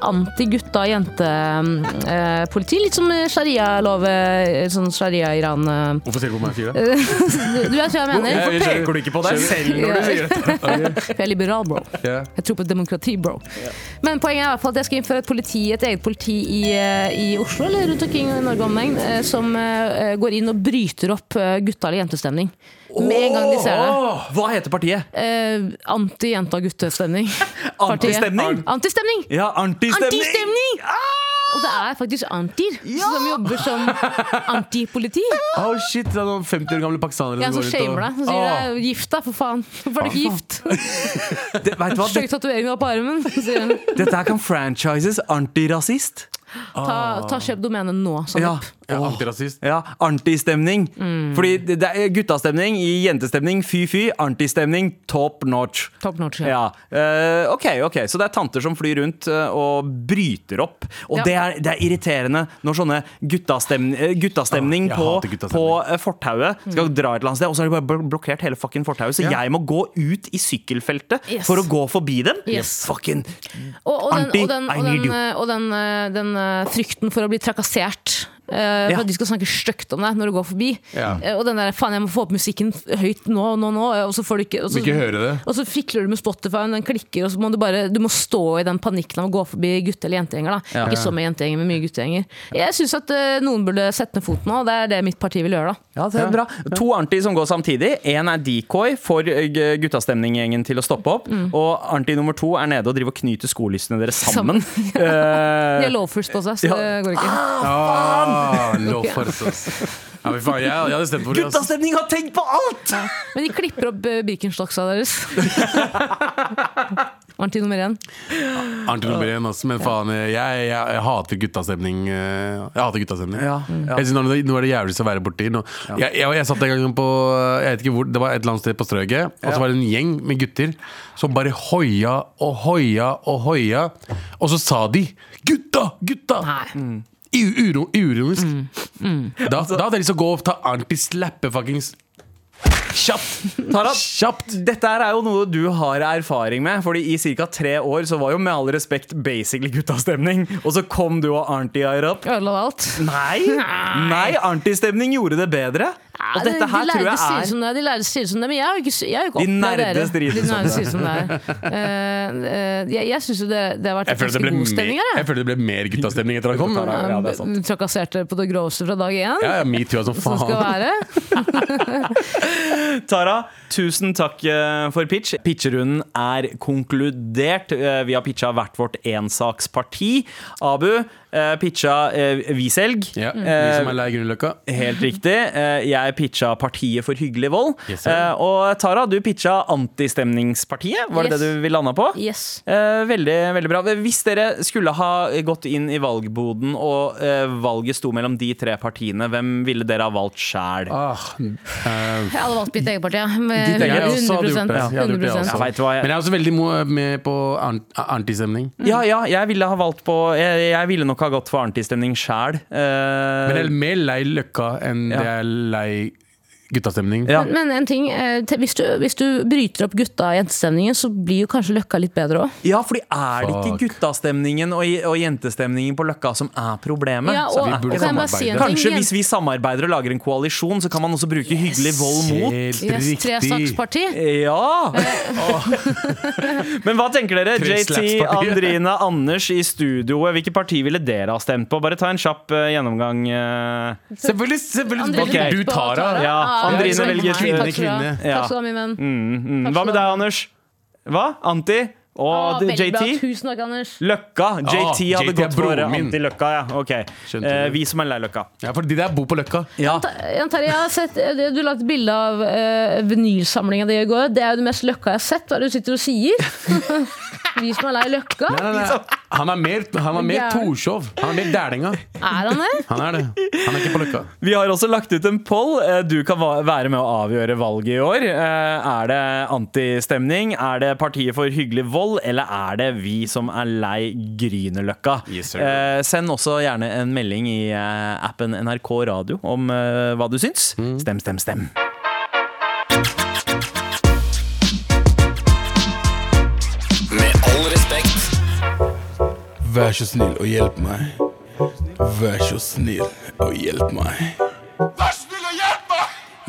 S3: anti-gutta-jente-politi, eh, litt som sharia-love, sånn sharia-Iran. eh,
S4: Hvorfor ser du på meg, Fira?
S3: Du vet hva jeg mener?
S2: Hvorfor peker du ikke på deg selv når du sier det?
S3: Jeg er liberal, bro.
S4: Ja.
S3: Jeg tror på demokrati, bro. Men poenget er i hvert fall at jeg skal innføre et politi, et eget politi i, eh, i Oslo eller rundt omkring i Norge omegn, eh, som eh, går inn og bryter opp eh, gutta- eller jentestemning. Med en gang de ser det.
S2: Åh, Hva heter partiet?
S3: Eh, Anti-jenta-guttestemning.
S2: Antistemning?
S3: Partiet. Antistemning!
S2: Ja, antistemning! Ah!
S3: Antistemning! Og det er faktisk antier som jobber som antipoliti.
S4: Oh shit, det er noen 50 år gamle pakistanere
S3: Ja, som shamer deg. Som
S2: Ah.
S3: sier
S4: Åh.
S3: deg 'gift deg, for faen'. Hvorfor er du ikke gift?
S2: Det, vet du Ah. hva?
S3: Stygg
S2: Det,
S3: tatovering opp armen. sier hun.
S2: dette her kan franchises antirasist.
S3: Ta, ta kjøp domenet nå. Sånn.
S2: Ah. Ja,
S4: Ja, antirasist.
S2: ja antistemning.
S3: Mm.
S2: Fordi det, det er guttastemning i jentestemning, fy-fy. Antistemning top notch.
S3: Top notch, ja.
S2: Ja, eh, ok, ok Så det er tanter som flyr rundt eh, og bryter opp. Og
S3: Ja.
S2: det, er, det er irriterende når sånne guttastemning, guttastemning
S4: Åh, jeg
S2: på,
S4: hater guttastemning.
S2: på eh, fortauet skal dra et eller annet sted, og så har de bare bl- blokkert hele fucking fortauet, så
S4: Ja.
S2: jeg må gå ut i sykkelfeltet
S3: Yes.
S2: for å gå forbi dem.
S3: Yes.
S2: Fucking
S3: Og, og, den,
S2: Anti,
S3: og, den,
S2: I
S3: og, den,
S2: need you.
S3: eh, og den, eh, den eh, frykten for å bli trakassert. eh,
S2: Ja.
S3: For at de skal snakke stygt om deg når du går forbi.
S4: Ja.
S3: Eh, og den der 'faen, jeg må få opp musikken høyt nå, nå, nå', eh, og så får du ikke og så,
S4: Vil ikke høre det.
S3: Og så fikler du med Spotify, den klikker, og så må du bare Du må stå i den panikken av å gå forbi gutte- eller jentegjenger. Da. Ikke så mye jentegjenger, men mye guttegjenger. Jeg syns at eh, noen burde sette ned foten nå, og det er det mitt parti vil gjøre, da.
S2: Ja, det er bra. To anti som går samtidig. Én er decoy, får eh, g- guttastemninggjengen til å stoppe opp. Og anti nummer to er nede og driver og knyter skolissene deres sammen.
S3: De
S2: Eh,
S3: har lovfirst på seg, så
S2: Ja.
S3: det går ikke.
S4: Ah, lov for oss, ass. Ja, men faen, jeg, jeg hadde stemt for det. ass.
S2: guttastemning har tenkt på alt!
S3: Men de klipper opp eh, Birkenstocksa deres. Arnti nummer én.
S4: Arnt nummer én, ass. Men faen, jeg, jeg, jeg hater guttastemning. eh, Jeg hater guttastemning.
S2: Ja, ja.
S4: Jeg synes nå, er det- nå er det jævligste å være borti. Nå. Jeg, jeg, jeg satt en gang på Jeg vet ikke hvor, det var et eller annet sted på Strøget. Og så var det en gjeng med gutter som bare hoia og hoia og hoia. Og så sa de 'gutta, gutta'! I- uro- Uironisk. Da,
S2: Altså-
S4: da hadde jeg lyst til å gå og ta anti-slappe fuckings Kjapt!
S2: Tara,
S4: Kjapt!
S2: dette her er jo noe du har erfaring med. Fordi i ca. tre år så var jo med all respekt basically guttastemning. Og så kom du og anti her opp.
S3: Ødela alt.
S2: Nei! Nei, antistemning gjorde det bedre. Og dette her
S3: de
S2: tror
S3: lærde sier
S2: jeg
S3: det
S2: er
S3: som det er, de lærde sier det som det er, men jeg har jo ikke, jeg har jo
S2: De
S3: ikke opplevd
S2: nerde
S3: dere.
S2: strides
S3: De
S2: om
S3: nærde
S2: det.
S3: sier det som det er. Eh, eh, jeg jeg syns jo det, det har vært
S4: Jeg føler, det
S3: ganske
S4: ble
S3: god
S4: mer,
S3: stemning her.
S4: jeg føler det ble mer guttastemning etter at han kom.
S2: Ja, ja, det er sant.
S3: jeg. Trakasserte på det groveste fra dag én.
S4: Ja, ja, Metoo er som
S3: Som skal
S4: faen.
S3: være.
S2: Tara, tusen takk eh, for pitch. Pitcherunden er konkludert. Eh, Vi har pitcha hvert vårt ensaksparti. Abu eh, pitcha eh, Viselg.
S3: Mm.
S4: Ja, vi
S2: Eh,
S4: som er lei Grünerløkka.
S2: Helt riktig. Eh, Jeg pitcha Partiet for hyggelig vold.
S4: Yes, sir.
S2: Eh, og Tara, du pitcha Antistemningspartiet. Var det
S3: Yes.
S2: det du landa på?
S3: Yes.
S2: Eh, veldig, veldig bra. Hvis dere skulle ha gått inn i valgboden, og eh, valget sto mellom de tre partiene, hvem ville dere ha valgt sjæl?
S4: Ah, eh,
S3: Jeg hadde valgt mitt eget parti, ja.
S2: Ditt eget,
S4: jeg også hadde gjort det. Jeg hadde gjort det
S3: 100%.
S4: også.
S2: Jeg vet hva jeg-
S4: Men jeg er også veldig mo- med på ant- antistemning.
S3: Mm.
S2: Ja, ja, jeg ville ha valgt på Jeg, jeg ville nok ha gått for antistemning sjæl.
S4: Men jeg er mer lei Løkka enn
S2: Ja.
S4: det jeg er lei guttastemning.
S2: Ja.
S3: Men, men en ting, eh, te- hvis du, hvis du bryter opp gutta og jentestemningen, så blir jo kanskje Løkka litt bedre òg.
S2: Ja, fordi er det
S4: Fuck.
S2: ikke guttastemningen og, og jentestemningen på Løkka som er problemet?
S3: Ja,
S2: Så
S3: og,
S2: er
S4: burde
S2: det
S3: kan jeg bare si en ting?
S2: Kanskje hvis vi samarbeider og lager en koalisjon, så kan man også bruke hyggelig vold mot.
S3: yes, tre saksparti.
S2: Ja! Men hva tenker dere?
S4: Tre
S2: JT,
S4: slaps-partier.
S2: Andrina, Anders i studioet. Hvilke parti ville dere ha stemt på? Bare ta en kjapp eh, gjennomgang. eh.
S4: Selvfølgelig! selvfølgelig.
S3: Andre
S2: Ok.
S4: Du,
S3: velger på
S4: Tara.
S2: Ja,
S3: Ah,
S2: Andrine
S3: takk skal du
S2: velger
S3: ha.
S2: kvinne,
S3: Takk skal du ha.
S4: kvinne.
S2: Ja.
S3: Takk skal du ha, min venn.
S2: Mm, Hva med deg, Anders? Hva? Anti?
S3: Ah,
S2: Og
S3: veldig bra.
S2: JT?
S3: Tusen takk, Anders.
S2: Løkka. JT hadde
S4: JT Ah, er
S2: gått for
S4: broren min.
S2: anti-Løkka, ja. Ok.
S4: Skjønte
S2: Eh,
S4: du.
S2: vi som er lei Løkka.
S4: Ja, for de der bor på Løkka.
S2: Ja.
S3: Ta- Jan Terje, jeg har sett, eh, du la et bilde av uh, vinylsamlinga di i går. Det er jo det mest løkka jeg har sett. Hva er det du sitter og sier? Vi som er lei løkka?
S4: Nei, nei, nei. Han er mer, han er mer
S3: Gæren.
S4: Torshov. Han er mer Dælinga.
S3: Er han det?
S4: Han er det. Han er ikke på Løkka.
S2: Vi har også lagt ut en poll. Eh, Du kan va- være med å avgjøre valget i år. Eh, Er det antistemning? Er det partiet for hyggelig vold? Eller er det vi som er lei Grünerløkka?
S4: Yes, sir.
S2: Eh, Send også gjerne en melding i eh, appen NRK Radio om eh, hva du syns.
S4: Mm.
S2: Stem, stem, stem.
S5: Med all respekt.
S6: Vær så snill og hjelp meg. Vær så snill og hjelp meg.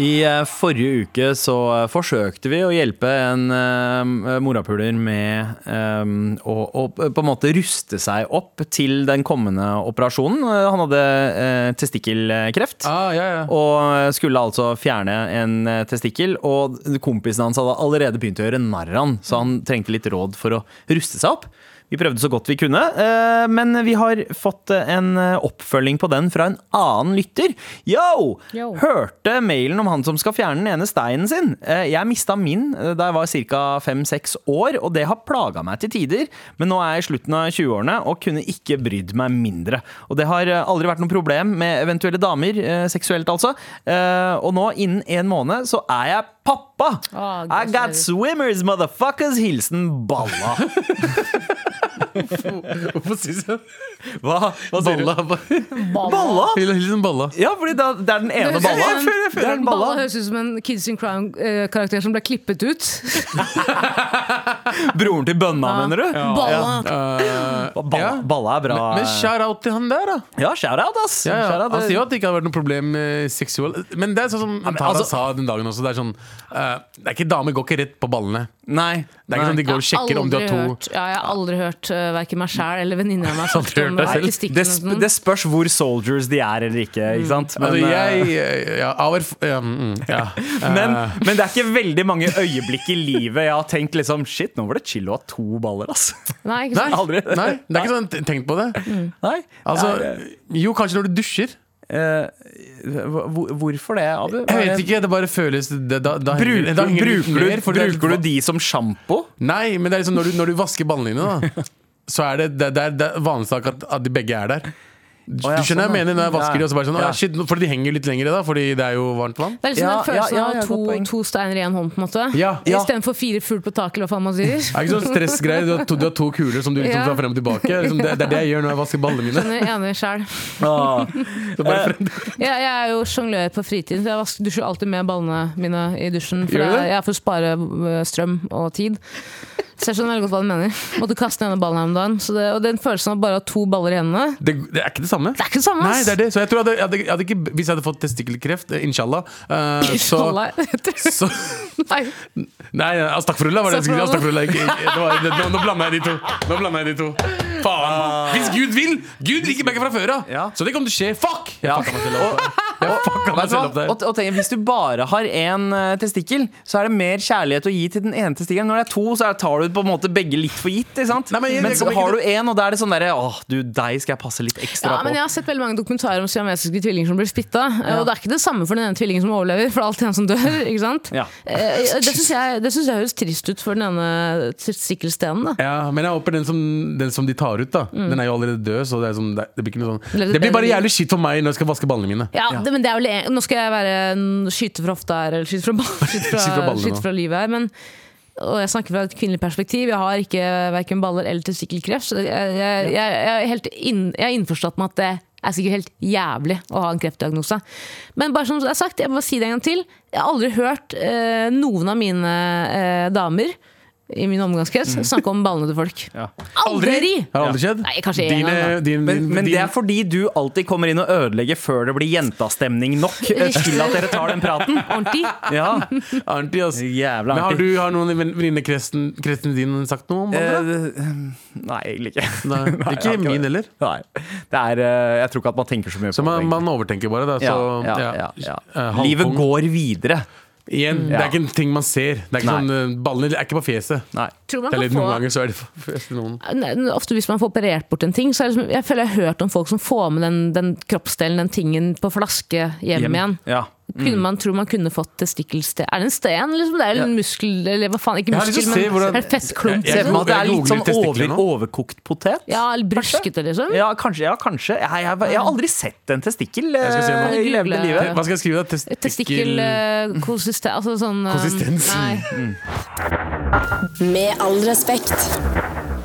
S2: I eh, forrige uke så eh, forsøkte vi å hjelpe en eh, morapuler med eh, å, å på en måte ruste seg opp til den kommende operasjonen. Eh, Han hadde eh, testikkelkreft.
S4: Ah, ja, ja.
S2: Og skulle altså fjerne en eh, testikkel, og kompisen hans hadde allerede begynt å gjøre narr av han, så han trengte litt råd for å ruste seg opp. Vi prøvde så godt vi kunne, eh, men vi har fått eh, en eh, oppfølging på den fra en annen lytter. Yo!
S3: Yo.
S2: Hørte mailen om han som skal fjerne den ene steinen sin. Eh, Jeg mista min eh, da jeg var ca. fem-seks år, og det har plaga meg til tider. Men nå er jeg i slutten av 20-årene og kunne ikke brydd meg mindre. Og det har eh, aldri vært noe problem med eventuelle damer, eh, seksuelt altså. Eh, Og nå, innen en måned, så er jeg pappa!
S3: Ah,
S2: I got
S3: gratulerer.
S2: swimmers, motherfuckers! Hilsen Balla.
S4: Hvorfor sier du
S2: Hva, Hva sier du?
S4: Balla.
S2: Balla?
S4: Hilsen Balla.
S2: Ja, fordi da, det er den ene balla.
S3: Jeg føler-
S2: Det er den
S3: Balla
S2: balla.
S3: høres ut som en Kids in Crime-karakter som ble klippet ut.
S2: Broren til bønna, mener du?
S3: Balla!
S2: Balla, balla er bra.
S4: Men shout-out til han der, da.
S2: Ja, shout-out, ass!
S4: Ja, ja.
S2: Shout-out.
S4: Han sier jo at det ikke har vært noe problem med seksual Men det er sånn som Tara
S2: altså-
S4: sa den dagen også. Det er sånn eh, Det er ikke Damer går ikke rett på ballene.
S2: Nei.
S4: Det er ikke sånn de
S3: Jeg
S4: går og
S3: har
S4: sjekker om de
S3: aldri
S4: har to
S3: hørt- Ja, jeg har aldri hørt uh, verken meg sjæl eller venninna mi
S4: Aldri hørt deg selv.
S2: det,
S3: sånn.
S2: sp det spørs hvor soldiers de er eller ikke, ikke sant? Men,
S4: sånn. Altså,
S2: eh,
S4: jeg ja, av erf- ja, mm, ja.
S2: men,
S4: Eh,
S2: men det er ikke veldig mange øyeblikk i livet jeg har tenkt liksom Shit, nå var det chill å ha to baller, ass.
S3: Nei, ikke
S4: Nei,
S3: sant?
S2: aldri.
S4: nei, det er ikke sånn tenkt på det.
S2: Nei.
S4: Altså,
S2: Det
S4: jo, kanskje når du dusjer.
S2: er, eh, hvor- hvorfor det, Abu?
S4: Jeg vet ikke, det bare føles det, da, da
S2: Bruker,
S4: henger- da henger det litt
S2: bruker,
S4: mer,
S2: du,
S4: for det er-
S2: bruker du de som sjampo?
S4: Nei, men det er liksom når du, når du vasker ballene dine, da, så er det, det, det, er, det er vanlig sak at, at de begge er der. Du
S2: Å, ja, sånn,
S4: skjønner hva jeg
S2: ja.
S4: mener når jeg vasker de, og så bare sånn, å,
S2: Ja.
S4: ja, shit, nå- fordi de henger litt lengre da, fordi det er jo varmt vann.
S3: Det er liksom
S2: Ja,
S3: den
S2: ja,
S3: følelsen
S2: ja, godt
S3: av
S2: poeng.
S3: to, to steiner i én hånd, på en måte.
S4: Ja, ja.
S3: Istedenfor fire fugl på taket, eller hva faen man sier.
S4: Det er ikke sånn stressgreier, du, har to- du har to kuler som du liksom
S3: Ja.
S4: drar frem og tilbake. Liksom, det, det er det jeg gjør når jeg vasker ballene mine.
S3: Men jeg er enig selv.
S2: Ah.
S4: Så bare frem,
S3: Jeg, jeg er jo sjonglør på fritiden, så jeg vasker- dusjer alltid med ballene mine i dusjen. For
S4: Gjør du det?
S3: jeg, jeg får spare øh, strøm og tid. Så jeg skjønner veldig godt hva du mener. Måtte kaste den ene ballen her om dagen. Så det, og den følelsen av bare å ha to baller i hendene,
S4: det, det er ikke det samme.
S3: det er ikke det samme.
S4: Nei,
S3: ass.
S4: det er det. Så jeg tror jeg hadde, jeg hadde, jeg hadde ikke, hvis jeg hadde fått testikkelkreft, eh, inshallah, eh, så,
S3: Inshallah, heter det.
S4: så
S3: Nei.
S4: Nei, astagfirullah var det jeg skulle si.
S3: Astagfirullah.
S4: Astagfirullah, ikke- ikke- det var- det- Nå, nå blander jeg de to. Nå blander jeg de to. Faen. Hvis Gud vil! Gud liker begge fra før av.
S2: Ah. Ja.
S4: Så det kommer til å skje. Fuck!
S2: Ja.
S4: Jeg fucka meg
S2: Vet du
S4: selv opp
S2: hva?
S4: der.
S2: Og, og tenk, hvis du bare har én eh, testikkel, så er det mer kjærlighet å gi til den ene testikkelen. Når det er to, så er, tar du på en måte begge litt for gitt. Ikke sant?
S4: Nei, men jeg- jeg
S2: Mens
S4: kommer ikke
S2: har
S4: til-
S2: du én, og da er det sånn derre Åh, du, deg skal jeg passe litt ekstra
S3: Ja, men
S2: på.
S3: jeg har sett veldig mange dokumentarer om siamesiske tvillinger som blir splitta. Og det er ikke det samme for den ene tvillingen som overlever, for det er alltid en som dør. ikke sant?
S2: Ja.
S3: Eh, Det syns jeg, det synes jeg høres trist ut for den ene testikkelstenen. da.
S4: Ja, men jeg håper den som, den som de tar ut, da.
S3: Mm.
S4: Den er jo allerede død, så det, er sånn, det, det blir ikke noe
S3: Eller-
S4: sånn Det blir bare jævlig shit for meg når jeg skal vaske ballene mine.
S3: Ja, Det, men det er vel en, Nå skal jeg være en skyte fra hofta her, eller skyte fra, ball- skyte fra,
S4: Skyte fra ballene
S3: skyte
S4: nå.
S3: fra livet her. Men, og jeg snakker fra et kvinnelig perspektiv. Jeg har ikke verken baller eller testikkelkreft. Så jeg, jeg, jeg, jeg er helt inn, jeg er innforstått med at det er sikkert helt jævlig å ha en kreftdiagnose. Men bare som det er sagt, jeg må bare si det en gang til. Jeg har aldri hørt eh, noen av mine eh, damer i min omgangskrets snakke om ballene til folk.
S2: Ja.
S3: Aldri!
S4: Har det Mhm. aldri skjedd?
S3: Nei, kanskje en gang,
S4: Dine-
S3: da.
S4: din-
S2: Men, men
S4: din-
S2: det er fordi du alltid kommer inn og ødelegger før det blir jentastemning nok eh, til at dere tar den praten.
S3: Mm, Ordentlig.
S2: Ja,
S4: Arnti, ass.
S2: Jævla
S4: Men har,
S2: artig.
S4: du, har noen i ven- venninnekretsen kretsen din sagt noe om det?
S2: Eh, nei, egentlig ikke.
S4: Nei,
S2: Nei, jeg
S4: ikke
S2: har
S4: min
S2: det.
S4: heller.
S2: Nei. Det er, eh, jeg tror ikke at man tenker så mye
S4: Så
S2: på
S4: man,
S2: det.
S4: man overtenker bare, da. Så,
S2: egentlig. ja, ja, ja, ja.
S4: eh,
S2: Livet
S4: halvpung.
S2: går videre.
S4: Igjen, det
S2: Ja.
S4: er ikke en ting man ser. Det er ikke
S2: Nei.
S4: sånn, eh, Ballene er ikke på fjeset.
S2: Nei.
S3: Tror man
S4: Eller
S3: kan
S4: noen
S3: få
S4: ganger så er det på fjeset til noen.
S3: Nei, Ofte hvis man får operert bort en ting, så er det liksom, jeg føler jeg har hørt om folk som får med den, den kroppsdelen, den tingen, på flaske hjem, igjen.
S2: Ja.
S4: Mm.
S3: Kunne man tro man kunne fått testikkelsten Er det en sten, liksom? Det er jo en muskel, eller hva faen, ikke
S4: Jeg har lyst
S3: muskel,
S4: til å se
S3: men
S4: hvordan-
S3: en fettklump.
S2: Se
S4: Jeg-
S2: for
S3: Liksom.
S2: meg at det er
S4: jeg
S2: litt sånn
S4: googler
S2: over,
S4: testikler nå.
S2: overkokt potet.
S3: Ja, eller bruskete, liksom.
S2: Ja, kanskje. Ja, kanskje. Jeg, jeg, jeg har aldri sett en testikkel eh,
S4: Jeg skal si noe.
S2: i levende
S3: Google.
S2: livet.
S4: Hva skal jeg skrive, da? Testikkel...
S3: eh. Testikkelkonsistens Altså sånn eh,
S4: Konsistens. Mm.
S3: Nei.
S1: Med all respekt.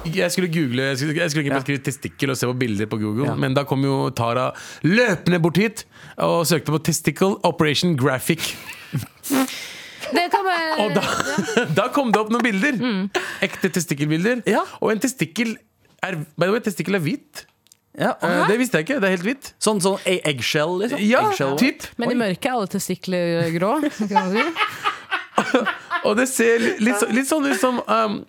S4: Jeg skulle google Jeg skulle, jeg skulle ikke bare
S2: Ja.
S4: skrive 'testikkel' og se på bilder på Google,
S2: Ja.
S4: men da kom jo Tara løpende bort hit og søkte på 'Testicle Operation Graphic'.
S3: Det kan være
S4: Og da, da kom det opp noen bilder!
S3: Mm.
S4: Ekte testikkelbilder.
S2: Ja.
S4: Og en testikkel er By the way, testikkel er hvit.
S2: Ja,
S4: Eh, Det visste jeg ikke. Det er helt hvitt.
S2: Sånn, sånn e- eggshell, liksom?
S4: Ja,
S2: eggshell.
S4: typ.
S3: Men i mørket er alle testikler grå. Kan man si.
S4: Og det ser li- litt, så, litt sånn ut som um,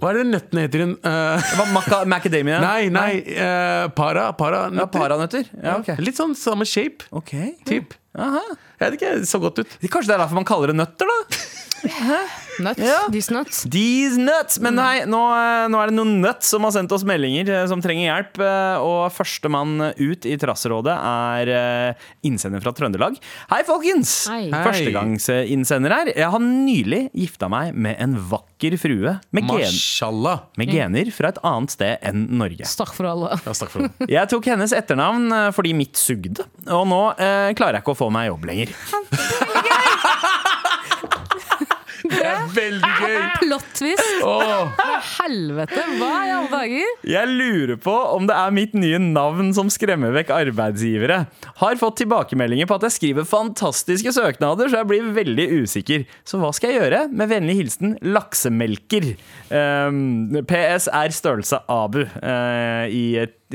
S4: Hva er det nøttene heter igjen? Eh,
S2: Hva, maca- macadamia?
S4: nei, nei. eh, para. Para.
S2: Ja,
S4: nøtter.
S2: paranøtter? Ja, ok.
S4: Litt sånn samme shape.
S2: Ok.
S4: Typ.
S2: Aha.
S4: Jeg vet ikke, det så godt ut.
S2: Kanskje det er derfor man kaller det nøtter, da?
S3: Nuts.
S2: Ja.
S3: These nuts.
S2: These nuts! Men nei, nå, eh, nå er det noen nuts som har sendt oss meldinger eh, som trenger hjelp. eh, Og førstemann ut i Trasserådet er eh, innsender fra Trøndelag. Hei, folkens!
S3: Hei. Hei.
S2: Førstegangsinnsender her. Jeg har nylig gifta meg med en vakker frue med, gen
S4: Mashallah.
S2: med gener fra et annet sted enn Norge.
S3: Takk for alle.
S4: Ja, takk for det.
S2: Jeg tok hennes etternavn eh, fordi mitt sugde, og nå eh, klarer jeg ikke å få meg jobb lenger.
S4: Det er veldig gøy!
S3: Plottvist!
S4: Åh,
S3: Helvete, hva i alle dager?
S2: Jeg lurer på om det er mitt nye navn som skremmer vekk arbeidsgivere. Har fått tilbakemeldinger på at jeg skriver fantastiske søknader, så jeg blir veldig usikker. Så hva skal jeg gjøre? Med vennlig hilsen laksemelker. Ehm, PS er størrelse abu eh, i,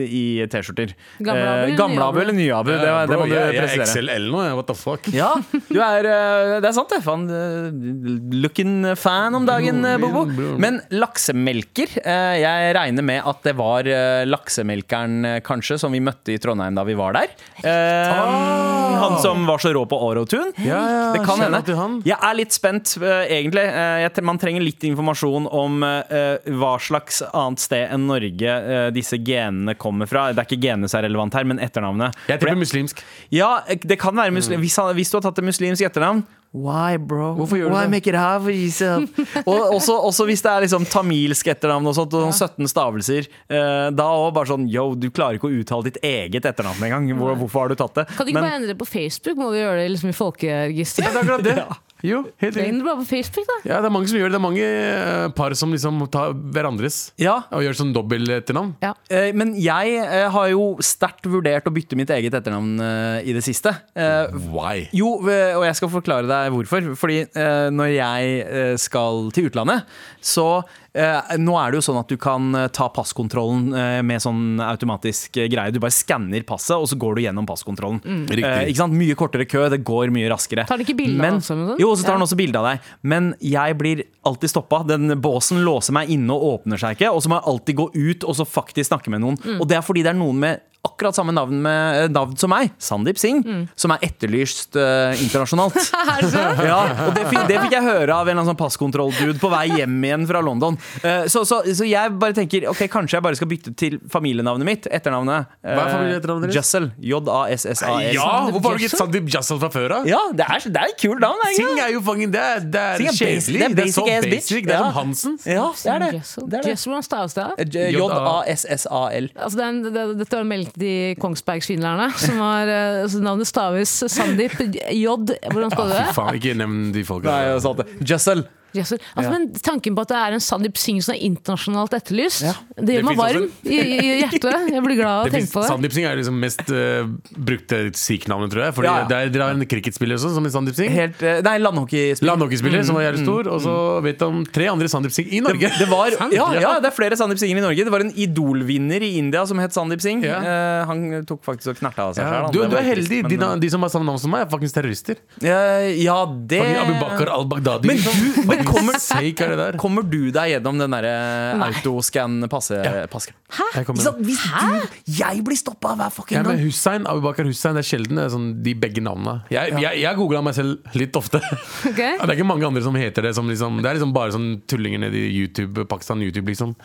S2: i T-skjorter.
S3: Gamle abu eller
S2: Eh, gamle abu
S3: nye abu?
S2: eller nye abu? Det, det
S4: bro,
S2: må du
S4: jeg, jeg er
S2: presisere.
S4: XLL nå, jeg. What the fuck?
S2: Ja, du er, eh, det er sant det. Fan, eh, looking fan om dagen, eh, Bobo. Men laksemelker eh, Jeg regner med at det var eh, laksemelkeren eh, kanskje som vi møtte i Trondheim da vi var der. Eh, Han som var så rå på Orotun.
S4: Ah. ja,
S2: det kan
S4: shout
S2: hende.
S4: out til han.
S2: Jeg er litt spent, eh, egentlig. Eh, jeg, tre- man trenger litt informasjon om eh, hva slags annet sted enn Norge eh, disse genene kommer fra. Det er ikke genene som er relevant her, men etternavnet.
S4: Jeg tipper muslimsk.
S2: Ja, det kan være muslim. Hvis, han, hvis du har tatt et muslimsk etternavn Why, bro?
S4: Mm. Hvorfor gjør du
S2: Why
S4: det?
S2: make it hard for yourself? og også, også hvis det er liksom tamilsk etternavn og sånt, og sånn 17 stavelser. eh, da òg bare sånn Yo, du klarer ikke å uttale ditt eget etternavn engang. Hvor, hvorfor har du tatt det?
S3: Kan du ikke
S2: Men-
S3: bare endre det på Facebook? Må vi gjøre det liksom i folkeregisteret?
S4: Det er akkurat det. Jo, helt riktig.
S3: Endre det bare på Facebook, da.
S4: Ja, det er mange som gjør det. Det er mange eh, par som liksom tar hverandres
S2: ja,
S4: og gjør sånn dobbeltetternavn.
S3: Ja.
S2: Eh, Men jeg eh, har jo sterkt vurdert å bytte mitt eget etternavn eh, i det siste. Eh,
S4: Why?
S2: Jo, eh, og jeg skal forklare deg hvorfor. Fordi eh, når jeg eh, skal til utlandet, så eh, Nå er det jo sånn at du kan eh, ta passkontrollen eh, med sånn automatisk eh, greie. Du bare skanner passet, og så går du gjennom passkontrollen. Eh, ikke sant? Mye kortere kø, det går mye raskere.
S3: Tar den ikke bilde av
S2: Men-
S3: oss eller noe sånt?
S2: Jo, så tar
S3: Ja.
S2: den også bilde av deg. Men jeg blir alltid stoppa. Den båsen låser meg inne og åpner seg ikke. Og så må jeg alltid gå ut og så faktisk snakke med noen.
S3: Mm.
S2: Og det er fordi det er noen med akkurat samme navn, med, eh, navn som meg, Sandeep Singh,
S3: Mm.
S2: som er etterlyst eh, internasjonalt. ja, og det fikk, det fikk jeg høre av en eller annen sånn passkontrolldude på vei hjem igjen fra London. Eh, så, så, så jeg bare tenker ok, kanskje jeg bare skal bytte til familienavnet mitt. Etternavnet. eh,
S4: Hva er familieetternavnet ditt?
S2: Jussel. J-a-s-s-a-l.
S4: Ja, hvorfor har du ikke
S3: Jassel?
S4: Sandeep Jassel fra før av?
S2: Ja, det er, det er et kult navn. egentlig.
S4: Sing er jo fangen, det er, det
S2: Sing er basic-
S4: er kjedelig.
S2: det er
S4: Det er så
S2: basic ass bitch.
S4: basic. Det er
S2: Ja.
S4: som Hansen.
S2: Ja, det er det.
S3: Jessel.
S2: det, er det.
S3: Jessel, hvordan staves det? da?
S2: J- J-A-S-S-A-L.
S3: Altså, det er en, det, dette var meldt de Kongsberg-svindlerne. Som var, eh, så navnet staves Sandeep J. Hvordan skal du det?
S4: Faen, ikke nevn de folka.
S2: Nei, jeg sa det. Jussel.
S3: gresshoppegresser. Altså,
S2: Ja.
S3: Men tanken på at det er en Sandeep Singh som er internasjonalt etterlyst, det
S4: Det
S3: gjør meg
S4: finnes
S3: varm i, i hjertet. Jeg blir glad av å
S4: Det
S3: tenke på
S4: finnes-
S3: det.
S4: Sandeep Singh er liksom mest eh, brukte sikh-navnet, tror jeg. Fordi
S2: Ja, ja.
S4: det er- Dere har en cricketspiller også, som er Sandeep Singh.
S2: Helt, eh, nei, landhockeyspiller.
S4: Landhockeyspiller som var jævlig stor. Og så vet jeg om tre andre Sandeep Singh i Norge.
S2: Det var, ja, ja, det er flere Sandeep Singher i Norge. Det var en Idol-vinner i India som het Sandeep Singh.
S4: Ja.
S2: Eh, han tok faktisk og knerta av seg selv,
S4: Ja,
S2: han.
S4: du,
S2: Det
S4: du
S2: var
S4: er
S2: litt
S4: heldig.
S2: trist,
S4: De,
S2: men,
S4: de som har samme navn som meg, er faktisk terrorister.
S2: eh, ja, det
S4: Fucking Abu Bakar al-Baghdadi.
S2: Men du- men kommer-
S4: Sake er det der.
S2: Kommer du deg gjennom den eh, derre autoscan-passe?
S4: Jeg kommer-
S2: Hvis du Jeg blir stoppa hver
S4: Ja,
S2: fucking
S4: men Hussein, Abu Bakar Hussein, det er sjelden det er sånn, de begge navnene. Jeg, jeg, jeg googla meg selv litt ofte.
S3: Ok.
S4: Det er ikke mange andre som heter det. Som liksom, det er liksom bare sånn tullinger nede i YouTube, Pakistan YouTube, liksom.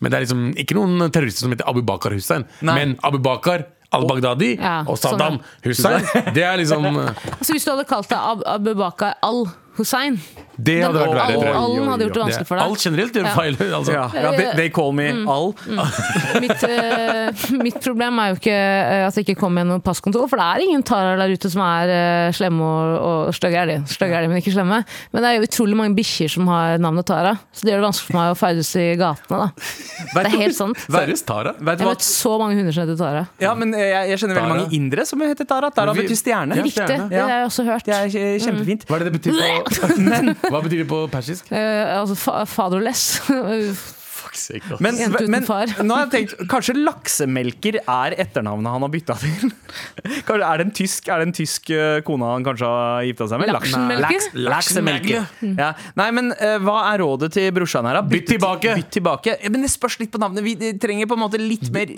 S4: Men det er liksom ikke noen terrorister som heter Abu Bakar Hussein.
S2: Nei.
S4: Men Abu Bakar al-Baghdadi
S3: Ja,
S4: og Saddam
S3: sånn,
S4: Hussein, det er liksom
S3: Altså, hvis du hadde kalt deg Ab Abubakar al-Hussein
S4: Det
S3: Den
S4: hadde vært verre, tror jeg.
S3: al-en hadde gjort det
S4: Det
S3: vanskelig
S4: er-
S3: for deg.
S4: Alt generelt gjør
S3: Ja.
S4: feil. Altså.
S2: Ja, ja they, they call me
S3: Mm.
S2: Al.
S3: Mitt, eh, mitt problem er jo ikke eh, at det ikke kommer gjennom passkontor, for det er ingen tarer der ute som er eh, slemme og, og stygge er de. Stygge er de, men ikke slemme. Men det er jo utrolig mange bikkjer som har navnet Tara, så det gjør det vanskelig for meg å ferdes i gatene, da. Det er helt sant.
S4: Seriøst, Tara?
S2: Vet du
S3: Jeg
S2: hva?
S3: vet så mange hunder som heter Tara.
S2: Ja, men eh, jeg, jeg kjenner veldig
S4: Tara.
S2: mange indere som heter Tara. Tara
S4: Vi-
S2: betyr stjerne.
S4: Ja,
S3: Riktig,
S4: stjerne.
S3: det Mm. har jeg også hørt.
S2: Det er eh, kjempefint.
S4: Hva er det det betyr på Hva betyr det på persisk?
S3: Eh, altså fa fatherless.
S4: Men altså.
S2: Men,
S3: Jente uten
S2: men
S3: far.
S2: nå har jeg tenkt, kanskje laksemelker er etternavnet han har bytta til? Kanskje, er, det en tysk, er det en tysk eh, kone han kanskje har gifta seg med? Laks-
S3: Laksemelker? Mm.
S2: laks- Laksemelker. Ja. Nei, men eh, hva er rådet til brorsan her? da?
S4: Bytt tilbake.
S2: Bytt tilbake. Ja, Men det spørs litt på navnet. Vi eh, trenger på en måte litt mer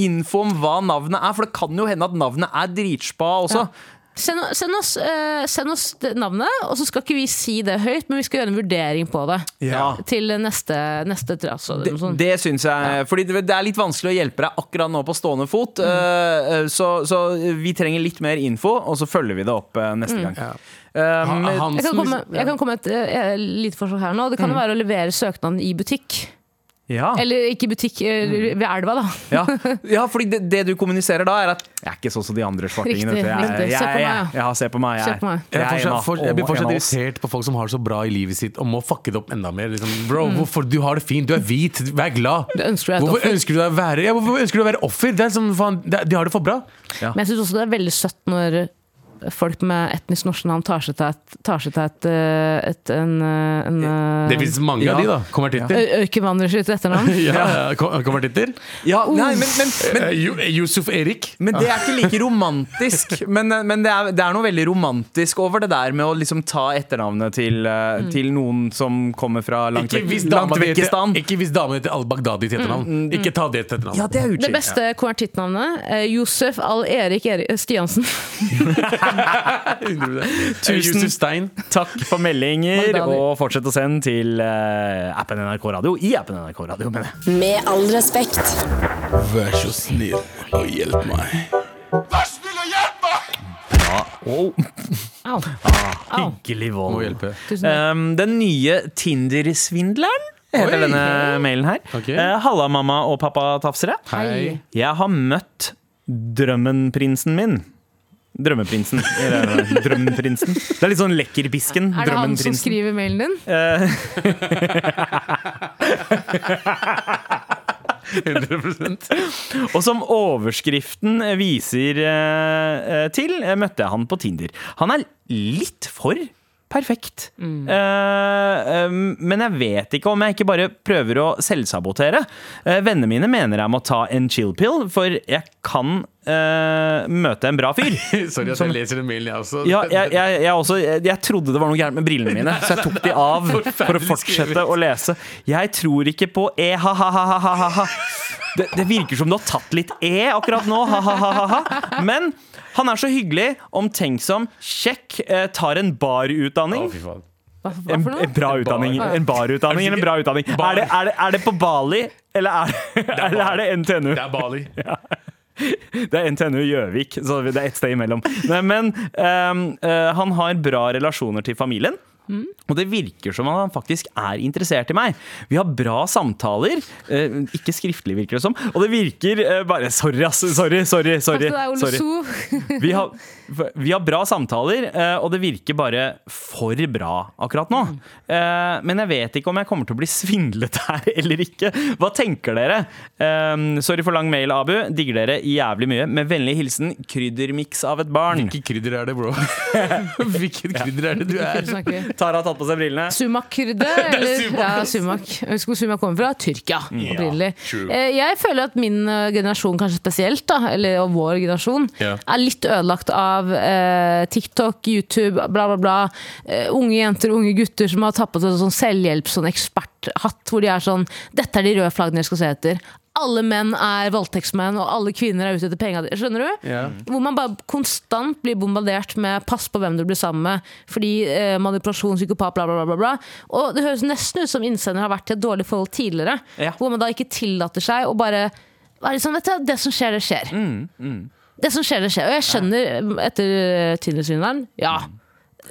S2: info om hva navnet er, for det kan jo hende at navnet er dritspa også.
S3: Send, send, oss, eh, send oss det navnet, og så skal ikke vi si det høyt, men vi skal gjøre en vurdering på det.
S2: Ja.
S3: Til neste, neste trass. og
S2: Det,
S3: sånn.
S2: det syns jeg. Fordi det det er litt vanskelig å hjelpe deg akkurat nå på stående fot. eh, eh, Så, så vi trenger litt mer info, og så følger vi det opp eh, neste gang. Um,
S3: Jeg kan komme, jeg kan komme med et eh, lite forslag her nå. Det kan jo være å levere søknaden i butikk.
S2: ja.
S3: Eller ikke i butikk, eh, ved elva, da.
S2: Ja. ja, fordi det, det du kommuniserer da, er at Jeg er ikke sånn som de andre svartingene. vet du.
S3: Riktig,
S2: Jeg,
S3: riktig.
S2: jeg,
S3: Se på meg,
S2: jeg,
S3: ja.
S2: jeg, ja, se på meg. Jeg,
S3: Se på meg.
S4: Jeg, er
S2: en
S4: fortsatt,
S2: av-
S4: for, jeg blir
S2: og en
S4: fortsatt
S2: av oss.
S4: irritert på folk som har det så bra i livet sitt og må fucke det opp enda mer. Liksom, bro, hvorfor Du har det fint, du er hvit, vær glad.
S3: Du ønsker deg et
S4: hvorfor,
S3: offer.
S4: ønsker du deg å være, ja, hvorfor ønsker du å være offer? Det er sånn, faen, det, er- de har det for bra.
S3: Men jeg syns også det er veldig søtt når folk med etnisk norske navn tar seg til et, tar seg til et, eh, et en, eh, en
S4: Det fins mange
S2: ja.
S4: av de, da. Konvertitter.
S3: eh, økenvandrer sitt etternavn.
S4: Ja, ko- konvertitter.
S2: Ja,
S3: Uh.
S2: nei, men, men, men,
S4: Eh, Ju- Yusuf Erik.
S2: men det er ikke like romantisk. Men, men det, er, det er noe veldig romantisk over det der med å liksom ta etternavnet til, eh, til noen som kommer fra langt,
S4: Ikke hvis
S2: vekk-
S4: dama
S2: langt
S4: di
S2: vekk i
S4: heter,
S2: stand.
S4: ikke hvis damen heter al-Baghdadi til etternavn. Ikke ta det til etternavn.
S2: Ja, det er
S3: Det
S2: utskilt.
S3: beste konvertittnavnet eh, Josef Al-Erik Eri eh, Stiansen.
S2: Tusen-
S4: Eh, Yusuf Stein.
S2: Takk for meldinger,
S3: Magdalene.
S2: og fortsett å sende til eh, appen NRK Radio. I appen NRK Radio, mener jeg.
S1: Med all respekt.
S6: Vær så snill og hjelp meg.
S3: Au. Au.
S2: Hyggelig vold.
S4: Må hjelpe.
S3: Ah, Tusen takk.
S2: Um, den nye Tinder-svindleren heter
S4: Oi.
S2: denne mailen her.
S4: Ok.
S2: Eh, Halla, mamma og pappa tafsere.
S4: Hei.
S2: Jeg har møtt drømmenprinsen min. Drømmeprinsen. Eller, eh, Drømmprinsen. Det er litt sånn Lekkerbisken.
S3: Er det han som
S2: Drømmenprinsen.
S3: skriver mailen din?
S2: Og som overskriften viser eh, eh, til, eh, møtte jeg han på Tinder. Han er litt for perfekt. Eh, eh, men jeg vet ikke om jeg ikke bare prøver å selvsabotere. Eh, vennene mine mener jeg må ta en chill pill, for jeg kan eh, møte en bra fyr.
S4: Sorry at jeg leser den mailen, jeg også.
S2: Ja, jeg, jeg, jeg, også, jeg, jeg trodde det var noe gærent med brillene mine, så jeg tok de av for å
S4: Forferdelig
S2: fortsette
S4: skrevet.
S2: å lese. Jeg tror ikke på e ha ha ha ha ha ha Det, det virker som du har tatt litt e akkurat nå. Ha, ha, ha, ha, ha. Men han er så hyggelig, omtenksom, kjekk, eh, tar en barutdanning.
S4: Å, fy faen.
S3: Hva, hva
S2: En,
S3: for noe?
S2: en bra utdanning.
S4: bar.
S2: En barutdanning eller en bra utdanning.
S4: Bar.
S2: Er det, er det, er det på Bali, eller er det, eller er det NTNU?
S4: Det er Bali.
S2: Det er NTNU Gjøvik, så det er ett sted imellom. Nei, men ehm, eh, han har bra relasjoner til familien.
S3: Mm.
S2: Og det virker som at han faktisk er interessert i meg. Vi har bra samtaler. Eh, ikke skriftlig, virker det som. Og det virker eh, bare Sorry, ass. Sorry, sorry.
S3: Takk
S2: sorry,
S3: til deg, Ole
S2: sorry.
S3: So.
S2: Vi har, vi har bra samtaler, eh, og det virker bare for bra akkurat nå. Eh, Men jeg vet ikke om jeg kommer til å bli svindlet her eller ikke. Hva tenker dere? Eh, Sorry for lang mail, Abu. Digger dere jævlig mye. Med vennlig hilsen kryddermiks av et barn.
S4: Hvilket krydder er det, bro? Hvilket krydder er det du
S3: Hva
S4: er?
S3: snakker vi?
S2: Tara har tatt på seg brillene.
S3: Sumak-krydder, eller ja, sumak. Jeg husker hvor sumak kommer fra. Tyrkia, opprinnelig. Eh, Jeg føler at min eh, generasjon, kanskje spesielt, da, eller og vår generasjon,
S4: Ja.
S3: er litt ødelagt av eh, TikTok, YouTube, bla, bla, bla. Eh, unge jenter og unge gutter som har tatt på seg sånn selvhjelp, sånn eksperthatt, hvor de er sånn Dette er de røde flaggene jeg skal se etter. Alle menn er voldtektsmenn, og alle kvinner er ute etter penga di. Skjønner du?
S4: Ja.
S3: Hvor man bare konstant blir bombardert med 'pass på hvem du blir sammen med', fordi eh, manipulasjon, psykopat, bla, bla, bla, bla, bla. Og det høres nesten ut som innsender har vært i et dårlig forhold tidligere.
S2: Ja.
S3: Hvor man da ikke tillater seg å bare være litt sånn Vet du, det som skjer, det skjer.
S2: Mm,
S3: Det som skjer, det skjer. Og jeg skjønner, eh, etter eh, Tinder-svindleren, ja.
S2: Mm.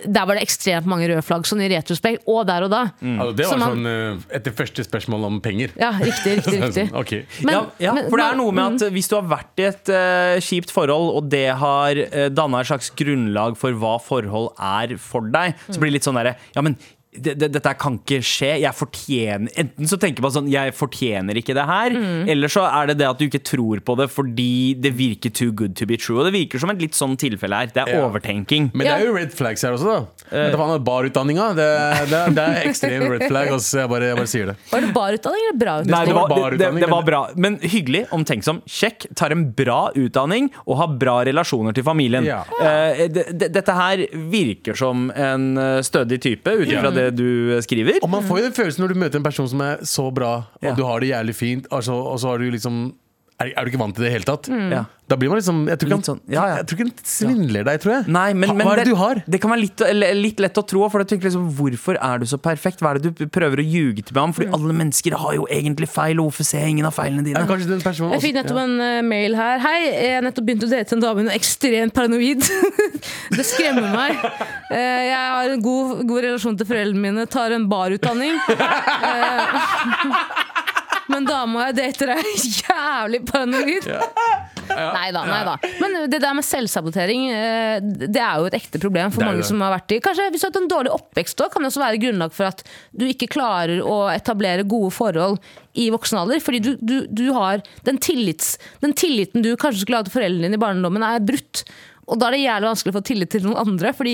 S3: Der var det ekstremt mange røde flagg, sånn i retrospekt, og der og da.
S2: Mm.
S4: Altså, det
S3: Som
S4: var
S3: han-
S4: sånn eh, etter første spørsmål om penger.
S3: Ja, riktig, riktig, riktig.
S4: Sånn, ok.
S3: Men-
S2: ja, ja,
S3: men-
S2: for det er
S3: men- Mm.
S2: noe med at hvis du har vært i et eh, kjipt forhold, og det har uh, danna et slags grunnlag for hva forhold er for deg, så blir det litt sånn derre Ja, men det, det, dette kan ikke skje. Jeg fortjener Enten så tenker man sånn Jeg fortjener ikke det her.
S3: Mm.
S2: Eller så er det det at du ikke tror på det fordi det virker too good to be true. Og det virker som et litt sånn tilfelle her. Det er
S4: Ja.
S2: overtenking.
S4: Men det er jo red flags her også, da. Det er barutdanninga. Det, er- det, er- det er ekstrem red flag. ass. Jeg, bare, jeg bare sier det.
S3: Var det bar utdanning eller bra utdanning?
S2: Nei, det var,
S4: står bare
S2: det, det,
S4: utdanning,
S2: det var
S4: men-
S2: bra. Men hyggelig, omtenksom, kjekk, tar en bra utdanning og har bra relasjoner til familien.
S4: Ja.
S2: Eh, det, det, dette her virker som en eh, stødig type, ut
S4: Ja.
S2: ifra det du eh, skriver.
S4: Og man får jo den følelsen når du møter en person som er så bra, og
S2: Ja.
S4: du har det jævlig fint, og så, og så har du liksom er, er du ikke vant til det i det hele tatt?
S2: Ja.
S4: Da blir man liksom Jeg tror ikke
S2: Litt
S4: han
S2: sånn, ja, ja.
S4: jeg tror ikke han svindler deg, tror jeg.
S2: Nei, men,
S4: Ha-
S2: men
S4: Hva er det du har?
S2: Det kan være litt, eller litt lett å tro. For jeg tenker liksom, Hvorfor er du så perfekt? Hva er det du prøver å ljuge til meg om? Fordi alle mennesker har jo egentlig feil. og Hvorfor ser jeg ingen av feilene
S4: Mm. Ja,
S2: dine?
S4: kanskje den personen
S3: Jeg
S4: også
S3: fikk nettopp en eh, mail her. Hei, jeg har nettopp begynt å date en dame. Hun er ekstremt paranoid. det skremmer meg. Eh, jeg har en god, god relasjon til foreldrene mine, tar en barutdanning. Eh, men dama jeg dater, er jævlig paranoid. Nei da, nei da. Men det der med selvsabotering, eh, det er jo et ekte problem for
S4: Det er
S3: mange
S4: det.
S3: som har vært i Kanskje hvis du har hatt en dårlig oppvekst òg, kan det også være grunnlag for at du ikke klarer å etablere gode forhold i voksen alder. Fordi du, du, du har den, tillits, den tilliten du kanskje skulle hatt til foreldrene dine i barndommen, er brutt. Og da er det jævlig vanskelig å få tillit til noen andre. Fordi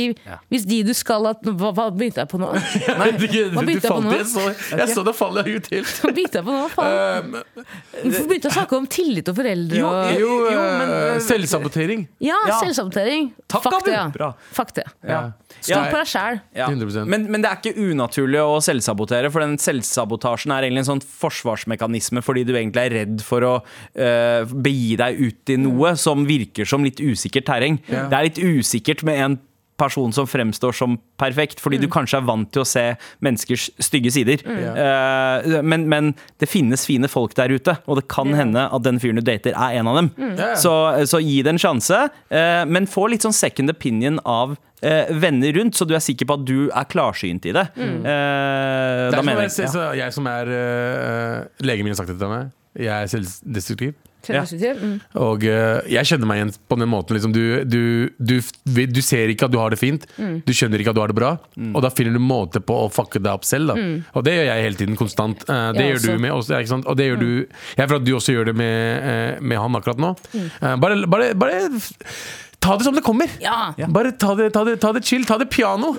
S3: hvis de du skal at, hva, hva begynte jeg på nå? Hva
S4: Nei, du, du,
S3: Hva begynte jeg
S4: du
S3: på
S4: falt,
S3: nå?
S4: jeg, så, jeg så det falle ut helt.
S3: begynte jeg på nå? Faen.
S4: Um,
S3: Hvorfor begynte jeg å snakke om tillit og foreldre? Og,
S4: jo,
S2: jo,
S4: eh,
S2: men, eh,
S4: selvsabotering.
S3: ja,
S2: Ja.
S3: selvsabotering.
S2: Takk,
S3: Fuck
S2: Abu.
S3: det, ja.
S2: Bra.
S3: Fuck det.
S4: Ja.
S3: Stol
S4: Nei,
S3: på deg sjæl.
S2: Ja.
S4: 100%.
S2: Men, men det er ikke unaturlig å selvsabotere, for den selvsabotasjen er egentlig en sånn forsvarsmekanisme fordi du egentlig er redd for å eh, begi deg ut i noe som virker som litt usikkert terreng.
S4: Ja.
S2: Det er litt usikkert med en person som fremstår som perfekt, fordi du kanskje er vant til å se menneskers stygge sider. Eh, men, men det finnes fine folk der ute, og det kan hende at den fyren du dater, er en av dem.
S4: Ja.
S2: Så så, så gi det en sjanse. eh, Men få litt sånn second opinion av eh, venner rundt, så du er sikker på at du er klarsynt i det.
S3: Mm.
S2: Eh, Da
S4: Det er som sånn,
S2: mener
S4: jeg,
S2: jeg ja.
S4: så jeg som er eh, Legen min har sagt det til meg. Jeg er selvdestruktiv.
S3: Selvsabotering. Mm.
S4: Og eh, jeg kjenner meg igjen på den måten. Liksom, du, du, du, f- du ser ikke at du har det fint,
S3: Mm.
S4: du skjønner ikke at du har det bra, og da finner du en måte på å fucke deg opp selv. Da.
S3: Mm.
S4: Og det gjør jeg hele tiden konstant. Eh, det
S3: Jeg
S4: gjør
S3: også.
S4: du med oss. ja, Ikke sant? Og det gjør du
S3: Mm.
S4: Jeg er for at du også gjør det med, eh, med han akkurat nå. Eh, bare, bare, bare f- ta det som det kommer.
S3: Ja. Ja.
S4: Bare ta det, ta, det, ta det chill. Ta det piano,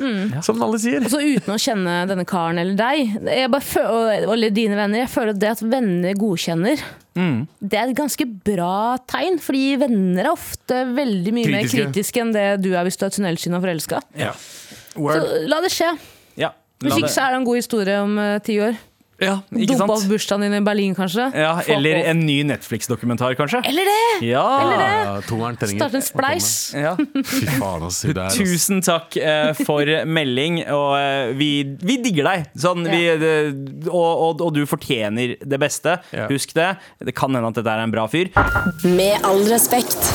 S4: som alle sier.
S3: Og så uten å kjenne denne karen eller deg, jeg bare føl- og- eller dine venner, jeg føler at det at venner godkjenner,
S2: Mm.
S3: det er et ganske bra tegn. Fordi venner er ofte veldig mye
S4: Kritiske.
S3: mer kritiske enn det du er hvis du er tunnelsyn og forelska.
S4: Ja.
S3: Så la det skje.
S2: ja. la
S3: Hvis ikke så
S2: det-
S3: er det en god historie om eh, ti år.
S2: ja, ikke
S3: Dumpa
S2: sant?
S3: opp bursdagen din i Berlin, kanskje.
S2: Ja,
S3: Fuck
S2: eller
S3: off.
S2: en ny Netflix-dokumentar, kanskje.
S3: Eller det!
S2: Ja.
S4: Ja, toeren trenger
S3: Starte en spleis.
S2: ja.
S4: Fy faen, ass. Det er, ass.
S2: Tusen takk eh, for melding, og eh, vi, vi digger deg. Sånn, vi, det- og, og, og du fortjener det beste.
S4: Ja.
S2: Husk det. Det kan hende at dette er en bra fyr.
S1: Med all respekt.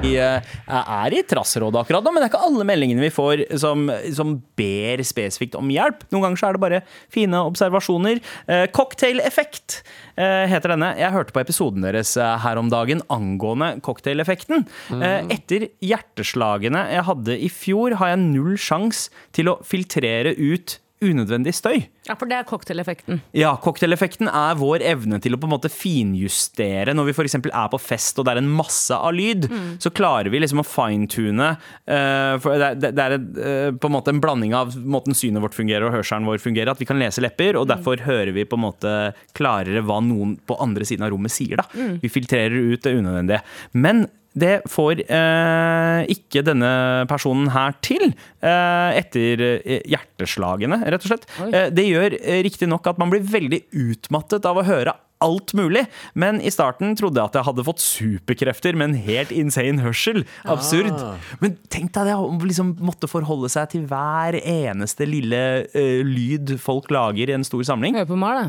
S2: Vi eh, er i trassrådet akkurat nå, men det er ikke alle meldingene vi får som, som ber spesifikt om hjelp. Noen ganger så er det bare fine observasjoner. Eh, Cocktaileffekt eh, heter denne. Jeg hørte på episoden deres eh, her om dagen angående cocktaileffekten. Eh, Etter hjerteslagene jeg hadde i fjor, har jeg null sjans til å filtrere ut unødvendig støy.
S3: Ja, for det er cocktaileffekten.
S2: Ja, cocktaileffekten er vår evne til å på en måte finjustere. Når vi f.eks. er på fest og det er en masse av lyd, så klarer vi liksom å fintune eh, for Det er, det- det er eh, på en måte en blanding av måten synet vårt fungerer og hørselen vår fungerer. At vi kan lese lepper, og derfor hører vi på en måte klarere hva noen på andre siden av rommet sier. Da. Vi filtrerer ut det unødvendige. Men det får eh, ikke denne personen her til eh, etter eh, hjerteslagene, rett og slett. Eh, det gjør eh, riktignok at man blir veldig utmattet av å høre alt mulig, men i starten trodde jeg at jeg hadde fått superkrefter med en helt insane hørsel. Absurd. Men tenk deg det, å liksom måtte forholde seg til hver eneste lille eh, lyd folk lager i en stor samling.
S3: Hør på Mar, da.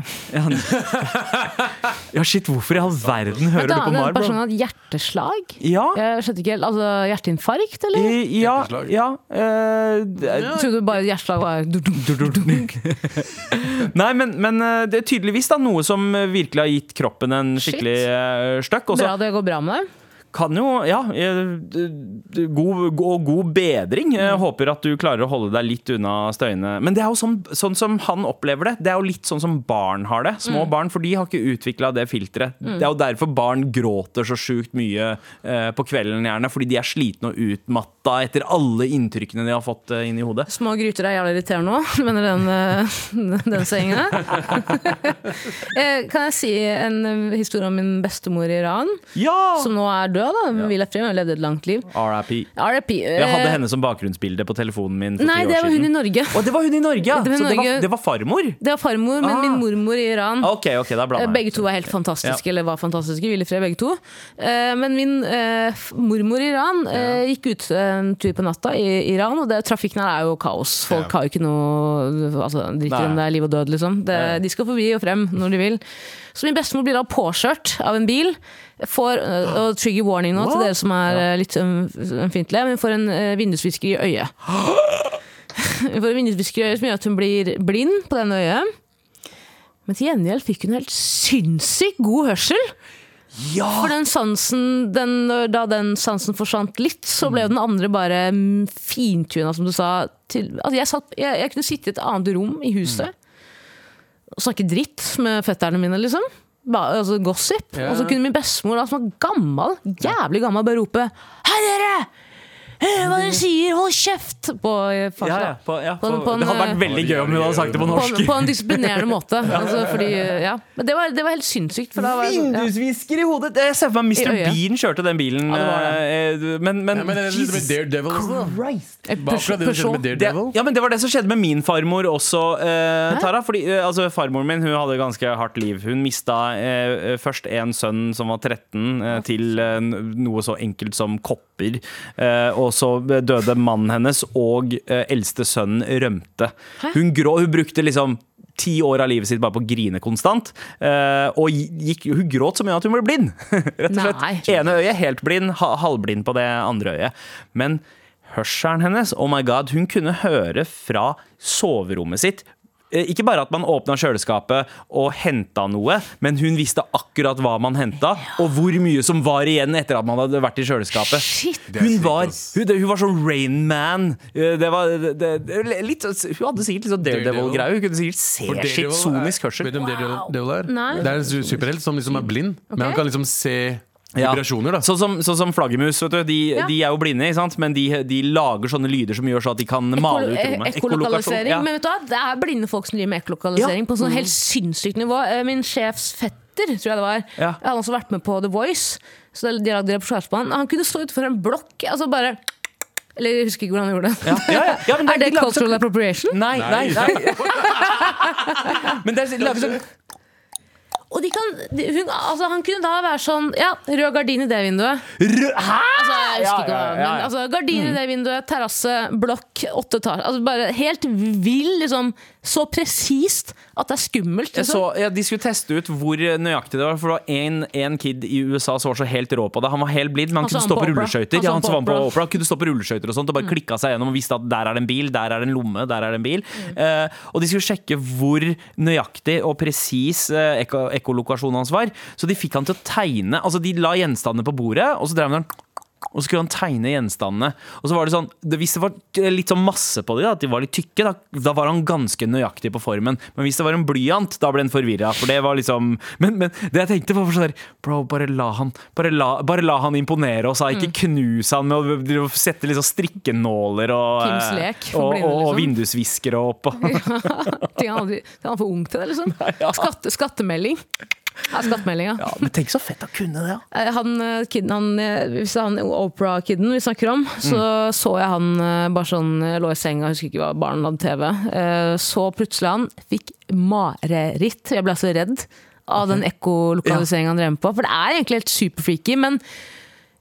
S2: Ja, shit, hvorfor i all verden hører du
S3: Da
S2: på
S3: hadde den
S2: Mar?
S3: personen
S2: bro?
S3: hatt hjerteslag.
S2: Ja,
S3: Jeg skjønte ikke helt, altså Hjerteinfarkt, eller?
S2: i- ja,
S4: Hjerteslag.
S2: ja. eh, det-
S3: Trodde du bare hjerteslag var du, du, du, du.
S2: Nei, men, men eh, det er tydeligvis da noe som virkelig har gitt kroppen en
S3: Shit.
S2: skikkelig eh, støkk. Og så
S3: Bra det går bra med deg.
S2: kan jo, ja eh, d- d- god, god, god bedring.
S3: Mm.
S2: Jeg håper at du klarer å holde deg litt unna støyene. Men det er jo sånn, sånn som han opplever det. Det er jo litt sånn som barn har det.
S3: Mm.
S2: Små barn, for de har ikke utvikla det filteret. Det er jo derfor barn gråter så sjukt mye eh, på kvelden, gjerne. Fordi de er slitne og utmatta etter alle inntrykkene de har fått eh, inn i hodet.
S3: Små gryter er jævlig irriterende òg, mener den, eh, den seingen der. Eh, kan jeg si en eh, historie om min bestemor i Iran,
S2: Ja!
S3: som nå er død? da, men Vi levde frem, hun levde et langt liv.
S2: RIP.
S3: RIP.
S2: Jeg hadde henne som bakgrunnsbilde på telefonen min for
S3: Eh, Nei,
S2: ti år
S3: det var hun
S2: siden.
S3: i Norge.
S2: Å, det var hun i Norge, ja!
S3: Det var
S2: Så det var,
S3: Norge.
S2: det var farmor?
S3: Det var farmor, men
S2: Ah.
S3: min mormor i Iran.
S2: Ok, ok, da blander jeg.
S3: Eh, Begge to er helt fantastiske, eller var fantastiske. Hvile i fred, begge to. Eh, Men min eh, f- mormor i Iran eh, gikk ut en tur på natta i Iran, og det, trafikken her er jo kaos. Folk har jo ikke noe altså, Driter
S2: Nei.
S3: om det er liv og død, liksom. Det, de skal forbi og frem når de vil. Så min bestemor blir da påkjørt av en bil. Får, eh, og trigger warning nå til dere som er eh, litt um, ømfintlige, men hun får en eh, vindusvisker i øyet. Hun får en vindusvisker i øyet som gjør at hun blir blind på denne øyet. Men til gjengjeld fikk hun helt sinnssykt god hørsel. For den sansen, den, da den sansen forsvant litt, så ble jo den andre bare mm, fintuna, som du sa. Til, altså jeg, satt, jeg, jeg kunne sitte i et annet rom i huset og snakke dritt med fetterne mine, liksom. Ba, altså gossip. Og så kunne min bestemor, da, som var gammel, jævlig gammel, bare rope Hei, dere! Hør hva dere sier! Hold kjeft! På eh, farsa.
S2: Ja, ja, på, ja, på,
S3: På en- på en,
S2: det hadde vært
S3: eh,
S2: veldig gøy om hun hadde sagt det på norsk.
S3: På, på en disiplinerende måte. Altså, fordi, ja. Men det var, det var helt sinnssykt. For da var jeg sånn, ja.
S2: Vindusvisker i hodet! Jeg ser for meg
S3: I
S2: Mr.
S3: øyet.
S2: Bean kjørte den bilen.
S3: Ja, det var
S2: eh, Men, men,
S4: Nei, men det er litt med Daredevil altså. også, da.
S2: Christ.
S3: Jeg
S4: Hva akkurat det du skjedde med
S2: det,
S4: Daredevil?
S2: ja, men det var det som skjedde med min farmor også, eh, Tara. Fordi eh, altså, Farmoren min hun hadde ganske hardt liv. Hun mista eh, først en sønn som var 13, eh, til eh, noe så enkelt som kopper. Eh, og så døde mannen hennes, og eh, eldste sønnen rømte. Hun grå, hun brukte liksom ti år av livet sitt bare på å grine konstant. eh, og gikk, hun gråt så mye at hun ble blind. Rett og slett.
S3: Nei.
S2: Ene øyet helt blind, ha- halvblind på det andre øyet. Men hørselen hennes, oh my god, hun kunne høre fra soverommet sitt. Eh, Ikke bare at man åpna kjøleskapet og henta noe, men hun visste akkurat hva man henta, og hvor mye som var igjen etter at man hadde vært i kjøleskapet. Hun var, hun, hun var sånn Rainman. Det var det, det, litt, sånn- hun hadde sikkert litt sånn Daredevil-greie. Hun kunne sikkert
S4: For
S2: se
S4: Daredevil
S2: shit, sonisk
S4: er-
S2: hørsel.
S4: Vet du om Daredevil er?
S3: Nei.
S4: Det er en su- superhelt som liksom er blind, men han kan liksom se
S2: Ja.
S4: vibrasjoner, da.
S2: Sånn som, sånn som flaggermus. Vet du. De,
S3: Ja.
S2: de er jo blinde, ikke sant? men de, de lager sånne lyder som gjør så at de kan male ut
S3: Ekolo-
S2: rommet.
S3: Ekkolokalisering.
S2: eh, Ja. Mm.
S3: Men vet du hva, det er blinde folk som driver med ekkolokalisering
S2: Ja.
S3: på sånn helt sinnssykt nivå. Eh, Min sjefs fetter, tror jeg det var,
S2: Ja.
S3: han har også vært med på The Voice. Så det- de lagde reportasje på han. Han kunne stå utenfor en blokk, altså bare Eller jeg husker ikke hvordan han gjorde det.
S2: Ja, ja, ja. Ja, men
S3: er det
S2: de sånn- lager så-
S3: cultural appropriation?
S2: Nei, nei, nei. men det er, de lager sånn
S3: Og de kan, de, hun, altså, han kunne da være sånn Ja, rød gardin i det vinduet.
S2: Rød- Hæ?!
S3: Altså, jeg husker
S2: Ja,
S3: ikke hva
S2: ja, ja,
S3: men,
S2: ja, ja.
S3: altså, Gardin i det vinduet, terrasse, blokk, åtte etasjer. Altså, bare helt vill, liksom. Så presist at det er skummelt.
S2: Jeg
S3: Liksom.
S2: så, ja, de skulle teste ut hvor nøyaktig det var. For det var én kid i USA som var så helt rå på det. Han var helt blind, men han
S3: Han så
S2: kunne
S3: han
S2: stå på
S3: på Oprah.
S2: rulleskøyter.
S3: Han så
S2: Ja, han
S3: han på Mm.
S2: så han på
S3: Oprah.
S2: Oprah. Han kunne stå på rulleskøyter og sånt og bare klikka seg gjennom og visste at der er det en bil, der er det en lomme, der er det en bil.
S3: Mm.
S2: Eh, og de skulle sjekke hvor nøyaktig og presis eh, eko- ekkolokasjonen hans var. Så de fikk han til å tegne Altså, de la gjenstandene på bordet, og så drev han og så skulle han tegne gjenstandene. Og så var det sånn, det, Hvis det var eh, litt sånn masse på dem, at de var litt tykke, da, da var han ganske nøyaktig på formen. Men hvis det var en blyant, da ble han forvirra. For det var liksom Men, men det jeg tenkte, var sånn der, Bro, bare la han Bare la, bare la han imponere oss. da. Ikke knus han med å drive og sette liksom strikkenåler og,
S3: Kims
S2: eh,
S3: lek
S2: og,
S3: for blinde,
S2: og, og
S3: liksom.
S2: vindusviskere opp. Og.
S3: Ting han, aldri, ting han er for ung til det, liksom. Skatte, skattemelding. Ja, skattemeldinga.
S2: Ja, men tenk så fett å kunne det, da.
S3: Eh, Han, eh, kidden, han, eh, hvis det er han Opera-kiden vi snakker om, så
S2: Mm.
S3: så jeg han eh, bare sånn eh, lå i senga, jeg husker ikke hva barnet hadde TV. Eh, Så plutselig han fikk mareritt. Jeg ble så redd av den ekkolokaliseringa han drev med på. For det er egentlig helt superfreaky, men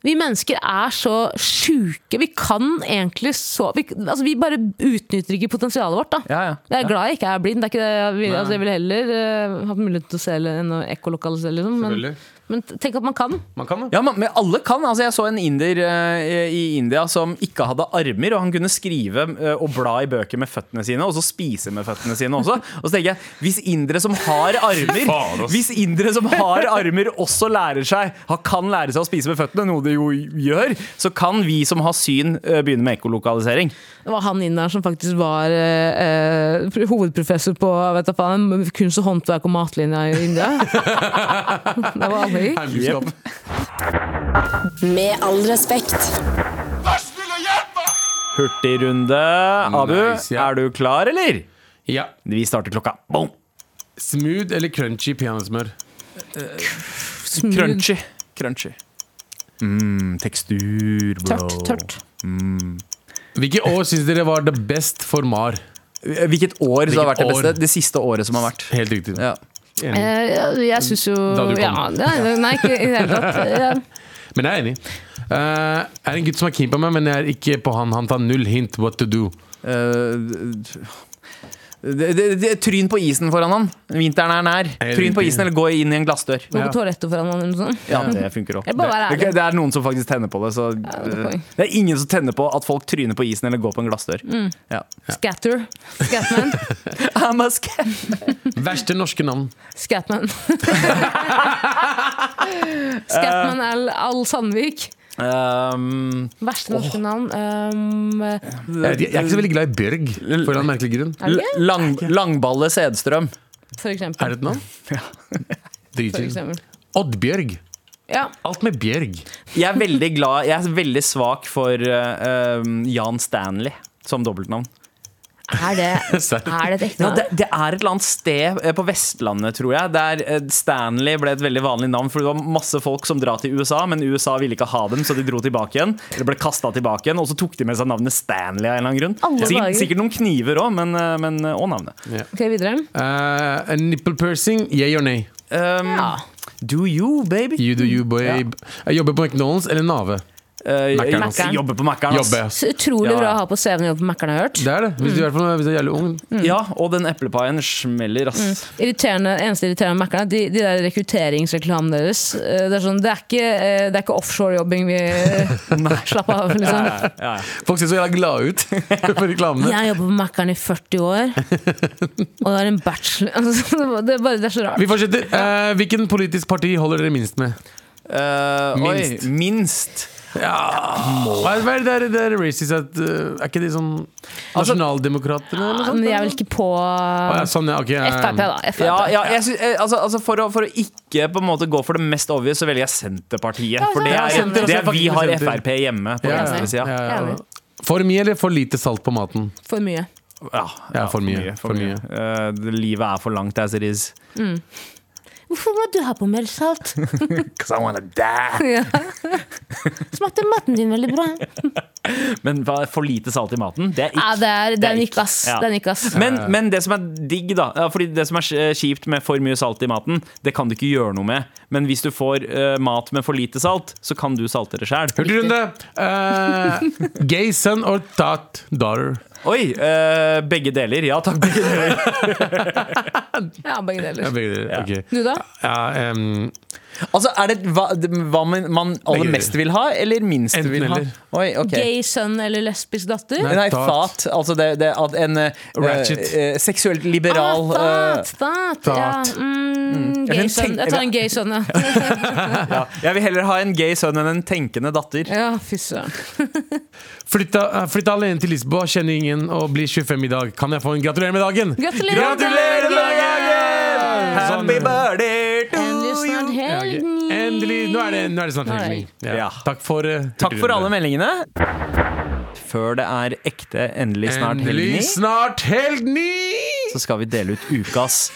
S3: vi mennesker er så sjuke. Vi kan egentlig så Vi, altså vi bare utnytter ikke potensialet vårt, da.
S2: Ja, ja.
S3: Jeg er glad jeg ikke er blind. Det er ikke det jeg, vil,
S2: Nei.
S3: altså jeg ville heller eh, hatt mulighet til å se enn å ekkolokalisere, liksom. Men,
S4: Selvfølgelig.
S3: men tenk at man kan.
S4: Man kan det.
S2: Ja, men, men alle kan. Altså, jeg så en inder eh, i India som ikke hadde armer, og han kunne skrive eh, og bla i bøker med føttene sine, og så spise med føttene sine også. Og så tenker jeg, hvis indere som har
S4: faen,
S2: armer
S4: ass.
S2: Hvis indere som har armer også lærer seg ha- kan lære seg å spise med føttene, noe de jo gjør, så kan vi som har syn, eh, begynne med ekkolokalisering.
S3: Det var han inderen som faktisk var eh, eh, pr- hovedprofessor på vet du, faen, kunst og håndverk og matlinja i India. det var aldri
S4: Heimkunnskap.
S1: Med all respekt.
S2: Hurtigrunde. Abu,
S4: Nice, ja.
S2: er du klar, eller?
S4: Ja.
S2: Vi starter klokka. Boom.
S4: Smooth eller crunchy peanøttsmør?
S2: Crunchy. Crunchy. Mm, tekstur, bro.
S3: tørt. tørt.
S4: Hvilke år syns dere var det best for Mar?
S2: Hvilket år som har vært det
S4: Hvilket
S2: beste?
S4: år?
S2: Det siste året som har vært.
S4: Helt riktig.
S2: Ja.
S4: Enig.
S3: Eh, jeg syns jo
S4: Da du kom.
S3: ja, det- Nei, ikke i det hele tatt. Ja.
S4: Men jeg er enig. Eh, jeg er en gutt som er keen på meg, men jeg er ikke på han. Han tar null hint what to do.
S2: Eh, det, det, det, tryn på isen foran han. Vinteren er nær.
S4: Helt
S2: Tryn på
S4: riktig.
S2: isen eller gå inn i en glassdør.
S3: Gå
S4: Ja.
S3: på toalettet foran han eller noe sånt.
S2: Ja, Det funker også
S3: Jeg bare være
S2: det,
S3: ærlig.
S2: det er noen som faktisk tenner på det. Så,
S3: det er
S2: eh,
S3: poeng.
S2: det er ingen som tenner på at folk tryner på isen eller går på en glassdør.
S3: Mm.
S2: Ja.
S3: Scatter. Scatman.
S2: I'm a scat.
S4: Verste norske navn.
S3: Scatman. Scatman Al, Al Sandvik.
S2: Um,
S3: Verste norske navn. Um, er
S4: Jeg, vet ikke- jeg er ikke så veldig glad i Bjørg, for en merkelig grunn.
S3: det gøy?
S2: lang, langballe Sedstrøm.
S3: For
S4: Er
S3: eksempel.
S4: det et navn?
S3: For
S4: Dritchill.
S3: eksempel.
S4: Oddbjørg.
S3: Ja.
S4: Alt med Bjørg.
S2: Jeg er veldig glad Jeg er veldig svak for eh, um, Jan Stanley som dobbeltnavn.
S3: Er det,
S4: Serr.
S3: er det et ekte
S2: Ja,
S3: navn?
S2: det, det er et eller annet sted eh, på Vestlandet, tror jeg, der eh, Stanley ble et veldig vanlig navn. For det var masse folk som drar til USA, men USA ville ikke ha dem, så de dro tilbake igjen. Eller ble kastet tilbake igjen, og så tok de med seg navnet Stanley av en eller annen grunn.
S3: Alle dager.
S2: Sikkert, sikkert noen kniver òg, men, eh, men eh, og navnet.
S3: Ok, videre.
S4: Eh, a nipple piercing, yeah or nay?
S2: Um,
S3: Ja.
S2: Do you, baby?
S4: You do you, babe. Jeg jobber på McDonald's eller Nave.
S2: Eh,
S4: Mac'eren,
S2: jeg-
S4: altså.
S2: Jobber på Mac'eren. ass.
S4: Jobbe.
S3: Så utrolig
S2: Ja, ja.
S3: bra å ha på CV-en jobb på Mækkern, har jeg hørt.
S4: Det er det. Hvis du, er, for- hvis du er jævlig ung.
S3: Mm.
S2: Ja, og den eplepaien smeller, ass.
S3: Irriterende, eneste irriterende med Mækkern er de, de der rekrutteringsreklamene deres. Eh, Det er, sånn, det er ikke, eh, det er ikke offshore-jobbing vi Mm. Slapp av, liksom.
S2: Ja, ja.
S4: Folk ser så jævla glade ut for reklamene.
S3: Jeg har jobbet på Mækkern i 40 år, og det er en bachelor altså, det, er bare, det er så
S4: Vi
S3: rart.
S4: fortsetter. Eh, hvilken politisk parti holder dere minst med?
S2: Eh,
S4: Minst.
S2: Oi, minst.
S4: Hva er- hva er det der- det er racist at, eh, Er ikke de sånn Nasjonaldemokratene eller noe sånt?
S3: Men jeg er vel ikke på eh,
S4: Å, ja, sånn, ja, ok, ja, ja.
S3: Frp, da. FRP.
S2: Ja, ja, jeg sy- eh, altså, altså for, å, for å ikke på en måte gå for det mest obvious, så velger jeg Senterpartiet. For det
S3: Ja,
S2: er,
S4: Senter,
S2: det er
S4: altså,
S2: vi har
S4: Senter.
S2: Frp hjemme på
S4: Ja,
S2: venstresida.
S4: ja,
S2: Ja,
S4: ja, ja.
S3: Enig.
S4: For mye eller for lite salt på maten?
S3: For mye.
S2: ja,
S4: for mye, for mye.
S2: Eh, det- livet er for langt as it is.
S3: Hvorfor må du ha på mer salt?
S2: Cause I wanna die.
S3: Ja. Smakte maten din veldig bra?
S2: Men hva, for lite salt i maten, det er ikke
S3: Ja, det er, det er en
S2: ikke.
S3: ikke, ass.
S2: Ja.
S3: Det er en ikke, ass.
S2: Men, men det som er digg, da ja, Fordi det som er eh, kjipt med for mye salt i maten, det kan du ikke gjøre noe med. Men hvis du får eh, mat med for lite salt, så kan du salte det sjæl.
S4: Hurtigrunde! Uh, gay son or tot daughter?
S2: Oi! eh, begge deler. Ja takk, begge deler.
S3: Ja, begge
S4: Ja,
S3: deler.
S4: begge deler. ok.
S3: Du da?
S4: Ja, em,
S2: Altså, er det hva, det- hva man, man aller
S4: Begge
S2: mest vil ha, eller minst
S4: Enten
S2: vil ha?
S4: eller.
S2: Oi, ok
S3: Gay sønn eller lesbisk datter?
S2: Nei,
S4: Fat.
S2: fat. Altså det, det at en eh,
S4: Ratchet.
S2: eh, seksuelt liberal
S3: ah,
S2: eh,
S3: fat, fat. Ja.
S4: fat.
S2: Jeg
S3: Mm, gay
S2: kan
S3: sønn.
S2: tenke-
S3: Jeg tar en gay sønn, ja.
S2: eh, ja. Jeg vil heller ha en gay sønn enn en tenkende datter.
S3: ja fy søren.
S4: flytta, eh, flytta alene til Lisboa, kjenner ingen og blir 25 i dag. Kan jeg få en gratulerer med dagen?
S3: Gratulerer med
S2: Gratulerer med dagen!
S4: Sånn.
S2: Happy birthday to
S3: Endelig snart
S2: you!
S4: Ja, ok.
S3: helg.
S4: Endelig! Nå er det, nå er det snart
S3: Nå er det
S4: helg.
S2: Ja.
S4: Ja. Takk for eh,
S2: Takk for alle
S4: Hurtigrunde.
S2: meldingene. Før det er ekte endelig snart
S4: Endelig
S2: helg,
S4: snart helg ni!
S2: så skal vi dele ut ukas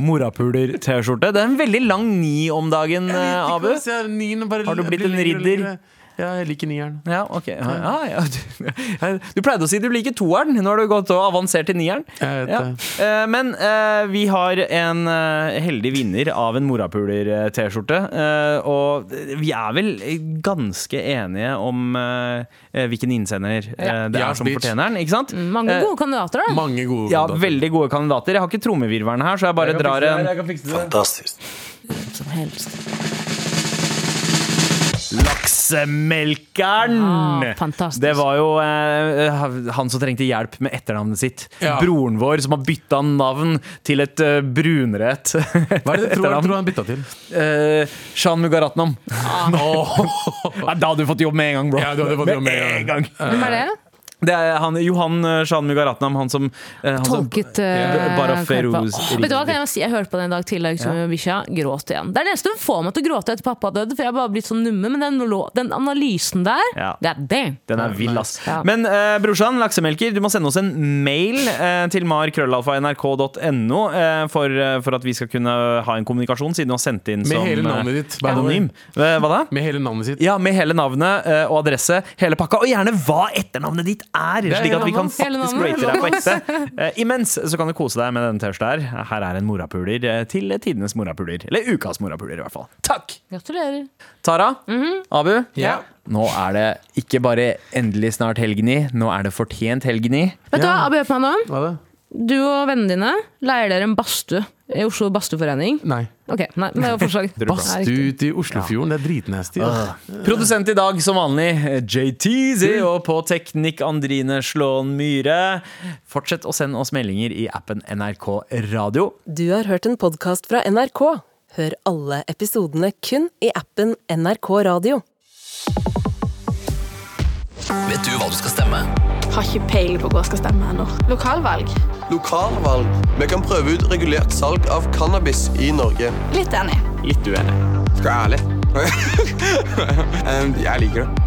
S2: Morapuler-T-skjorte. Det er en veldig lang ni om dagen, eh, Abu. Har
S4: Har
S2: du blitt en ridder?
S4: Ja, jeg liker nieren.
S2: Ja, ok ja, ja, ja. Du, du pleide å si du liker toeren. Nå har du gått og avansert til nieren.
S4: Jeg vet
S2: Ja.
S4: det.
S2: Eh, Men eh, vi har en eh, heldig vinner av en morapuler-T-skjorte. eh, Og vi er vel ganske enige om eh, hvilken innsender eh,
S3: Ja.
S2: det
S4: Ja,
S2: er som
S4: bitch.
S2: fortjener den. Ikke sant?
S3: Mange
S2: Eh,
S3: gode kandidater, da.
S4: Mange gode
S2: Ja,
S4: kandidater.
S2: veldig gode kandidater. Jeg har ikke trommevirvelen her, så jeg bare
S4: Jeg kan fikse
S2: drar
S4: det her,
S2: en
S4: jeg kan fikse det.
S5: Fantastisk.
S3: Som helst.
S2: Laksemelkeren!
S3: Ah, fantastisk.
S2: Det var jo eh, han som trengte hjelp med etternavnet sitt.
S4: Ja.
S2: Broren vår som har bytta navn til et eh, brunere et-
S4: Hva er det du tror,
S2: etternavn.
S4: tror han bytta til?
S2: Eh, Shan Mugaratnam.
S4: Nå.
S2: Nei, Da hadde du fått jobb med en gang, bro.
S4: Ja, du hadde fått jobb med en gang.
S3: Hvem er det?
S2: Det er han, Johan eh, Shan Mugaratnam, han som eh, han som-
S3: Tolket
S2: Ja,
S3: eh,
S2: Bara
S3: Karpa.
S2: Feroz
S3: Åh, Vet du hva, kan jeg, si? jeg hørte på den i dag tidlig som bikkja. Gråt igjen. Det er det eneste som får meg til å gråte etter pappa døde, for jeg har bare blitt så numme. Men den, lå- den analysen der,
S2: Ja.
S3: det er det.
S2: Den er vill, ass.
S3: Ja.
S2: Men eh, brorsan, laksemelker, du må sende oss en mail eh, til markrøllalfa.nrk.no eh, for, eh, for at vi skal kunne ha en kommunikasjon, siden du har sendt inn
S4: Med
S2: som
S4: hele
S2: eh,
S4: navnet ditt. by the way.
S2: Anonym. Eh, Hva da?
S4: Med hele navnet sitt.
S2: Ja, med hele navnet eh, og adresse, hele pakka, og gjerne hva etternavnet ditt er,
S4: er
S2: slik at
S4: hele
S2: vi kan
S4: navnet.
S3: Hele
S2: faktisk
S3: navnet.
S2: rate deg på ekte. Eh, Imens så kan du kose deg med denne T-skjorta her. Her er en morapuler eh, til tidenes morapuler. Eller ukas morapuler, i hvert fall. Takk!
S3: Gratulerer.
S2: Tara, Abu,
S4: Ja.
S2: nå er det ikke bare endelig snart helgen i, nå er det fortjent helgen i.
S3: Vet du hva, Abu Hjelpmann, nå?
S4: Hva da?
S3: du og vennene dine leier dere en badstue i Oslo Badstueforening.
S4: Nei.
S3: Ok, nei, men det var forslag.
S4: Badstue ute i Oslofjorden, det er dritnasty. ass.
S2: Produsent i dag som vanlig, JTZ, og på Teknikk Andrine Slåen Myhre. Fortsett å sende oss meldinger i appen NRK Radio.
S7: Du har hørt en podkast fra NRK. Hør alle episodene kun i appen NRK Radio.
S5: Vet du hva du skal stemme?
S8: Har ikke peiling på hva jeg skal stemme ennå. Lokalvalg?
S9: Lokalvalg. Vi kan prøve ut regulert salg av cannabis i Norge.
S8: Litt enig.
S2: Litt uenig.
S9: Skal jeg være ærlig? Em, jeg liker det.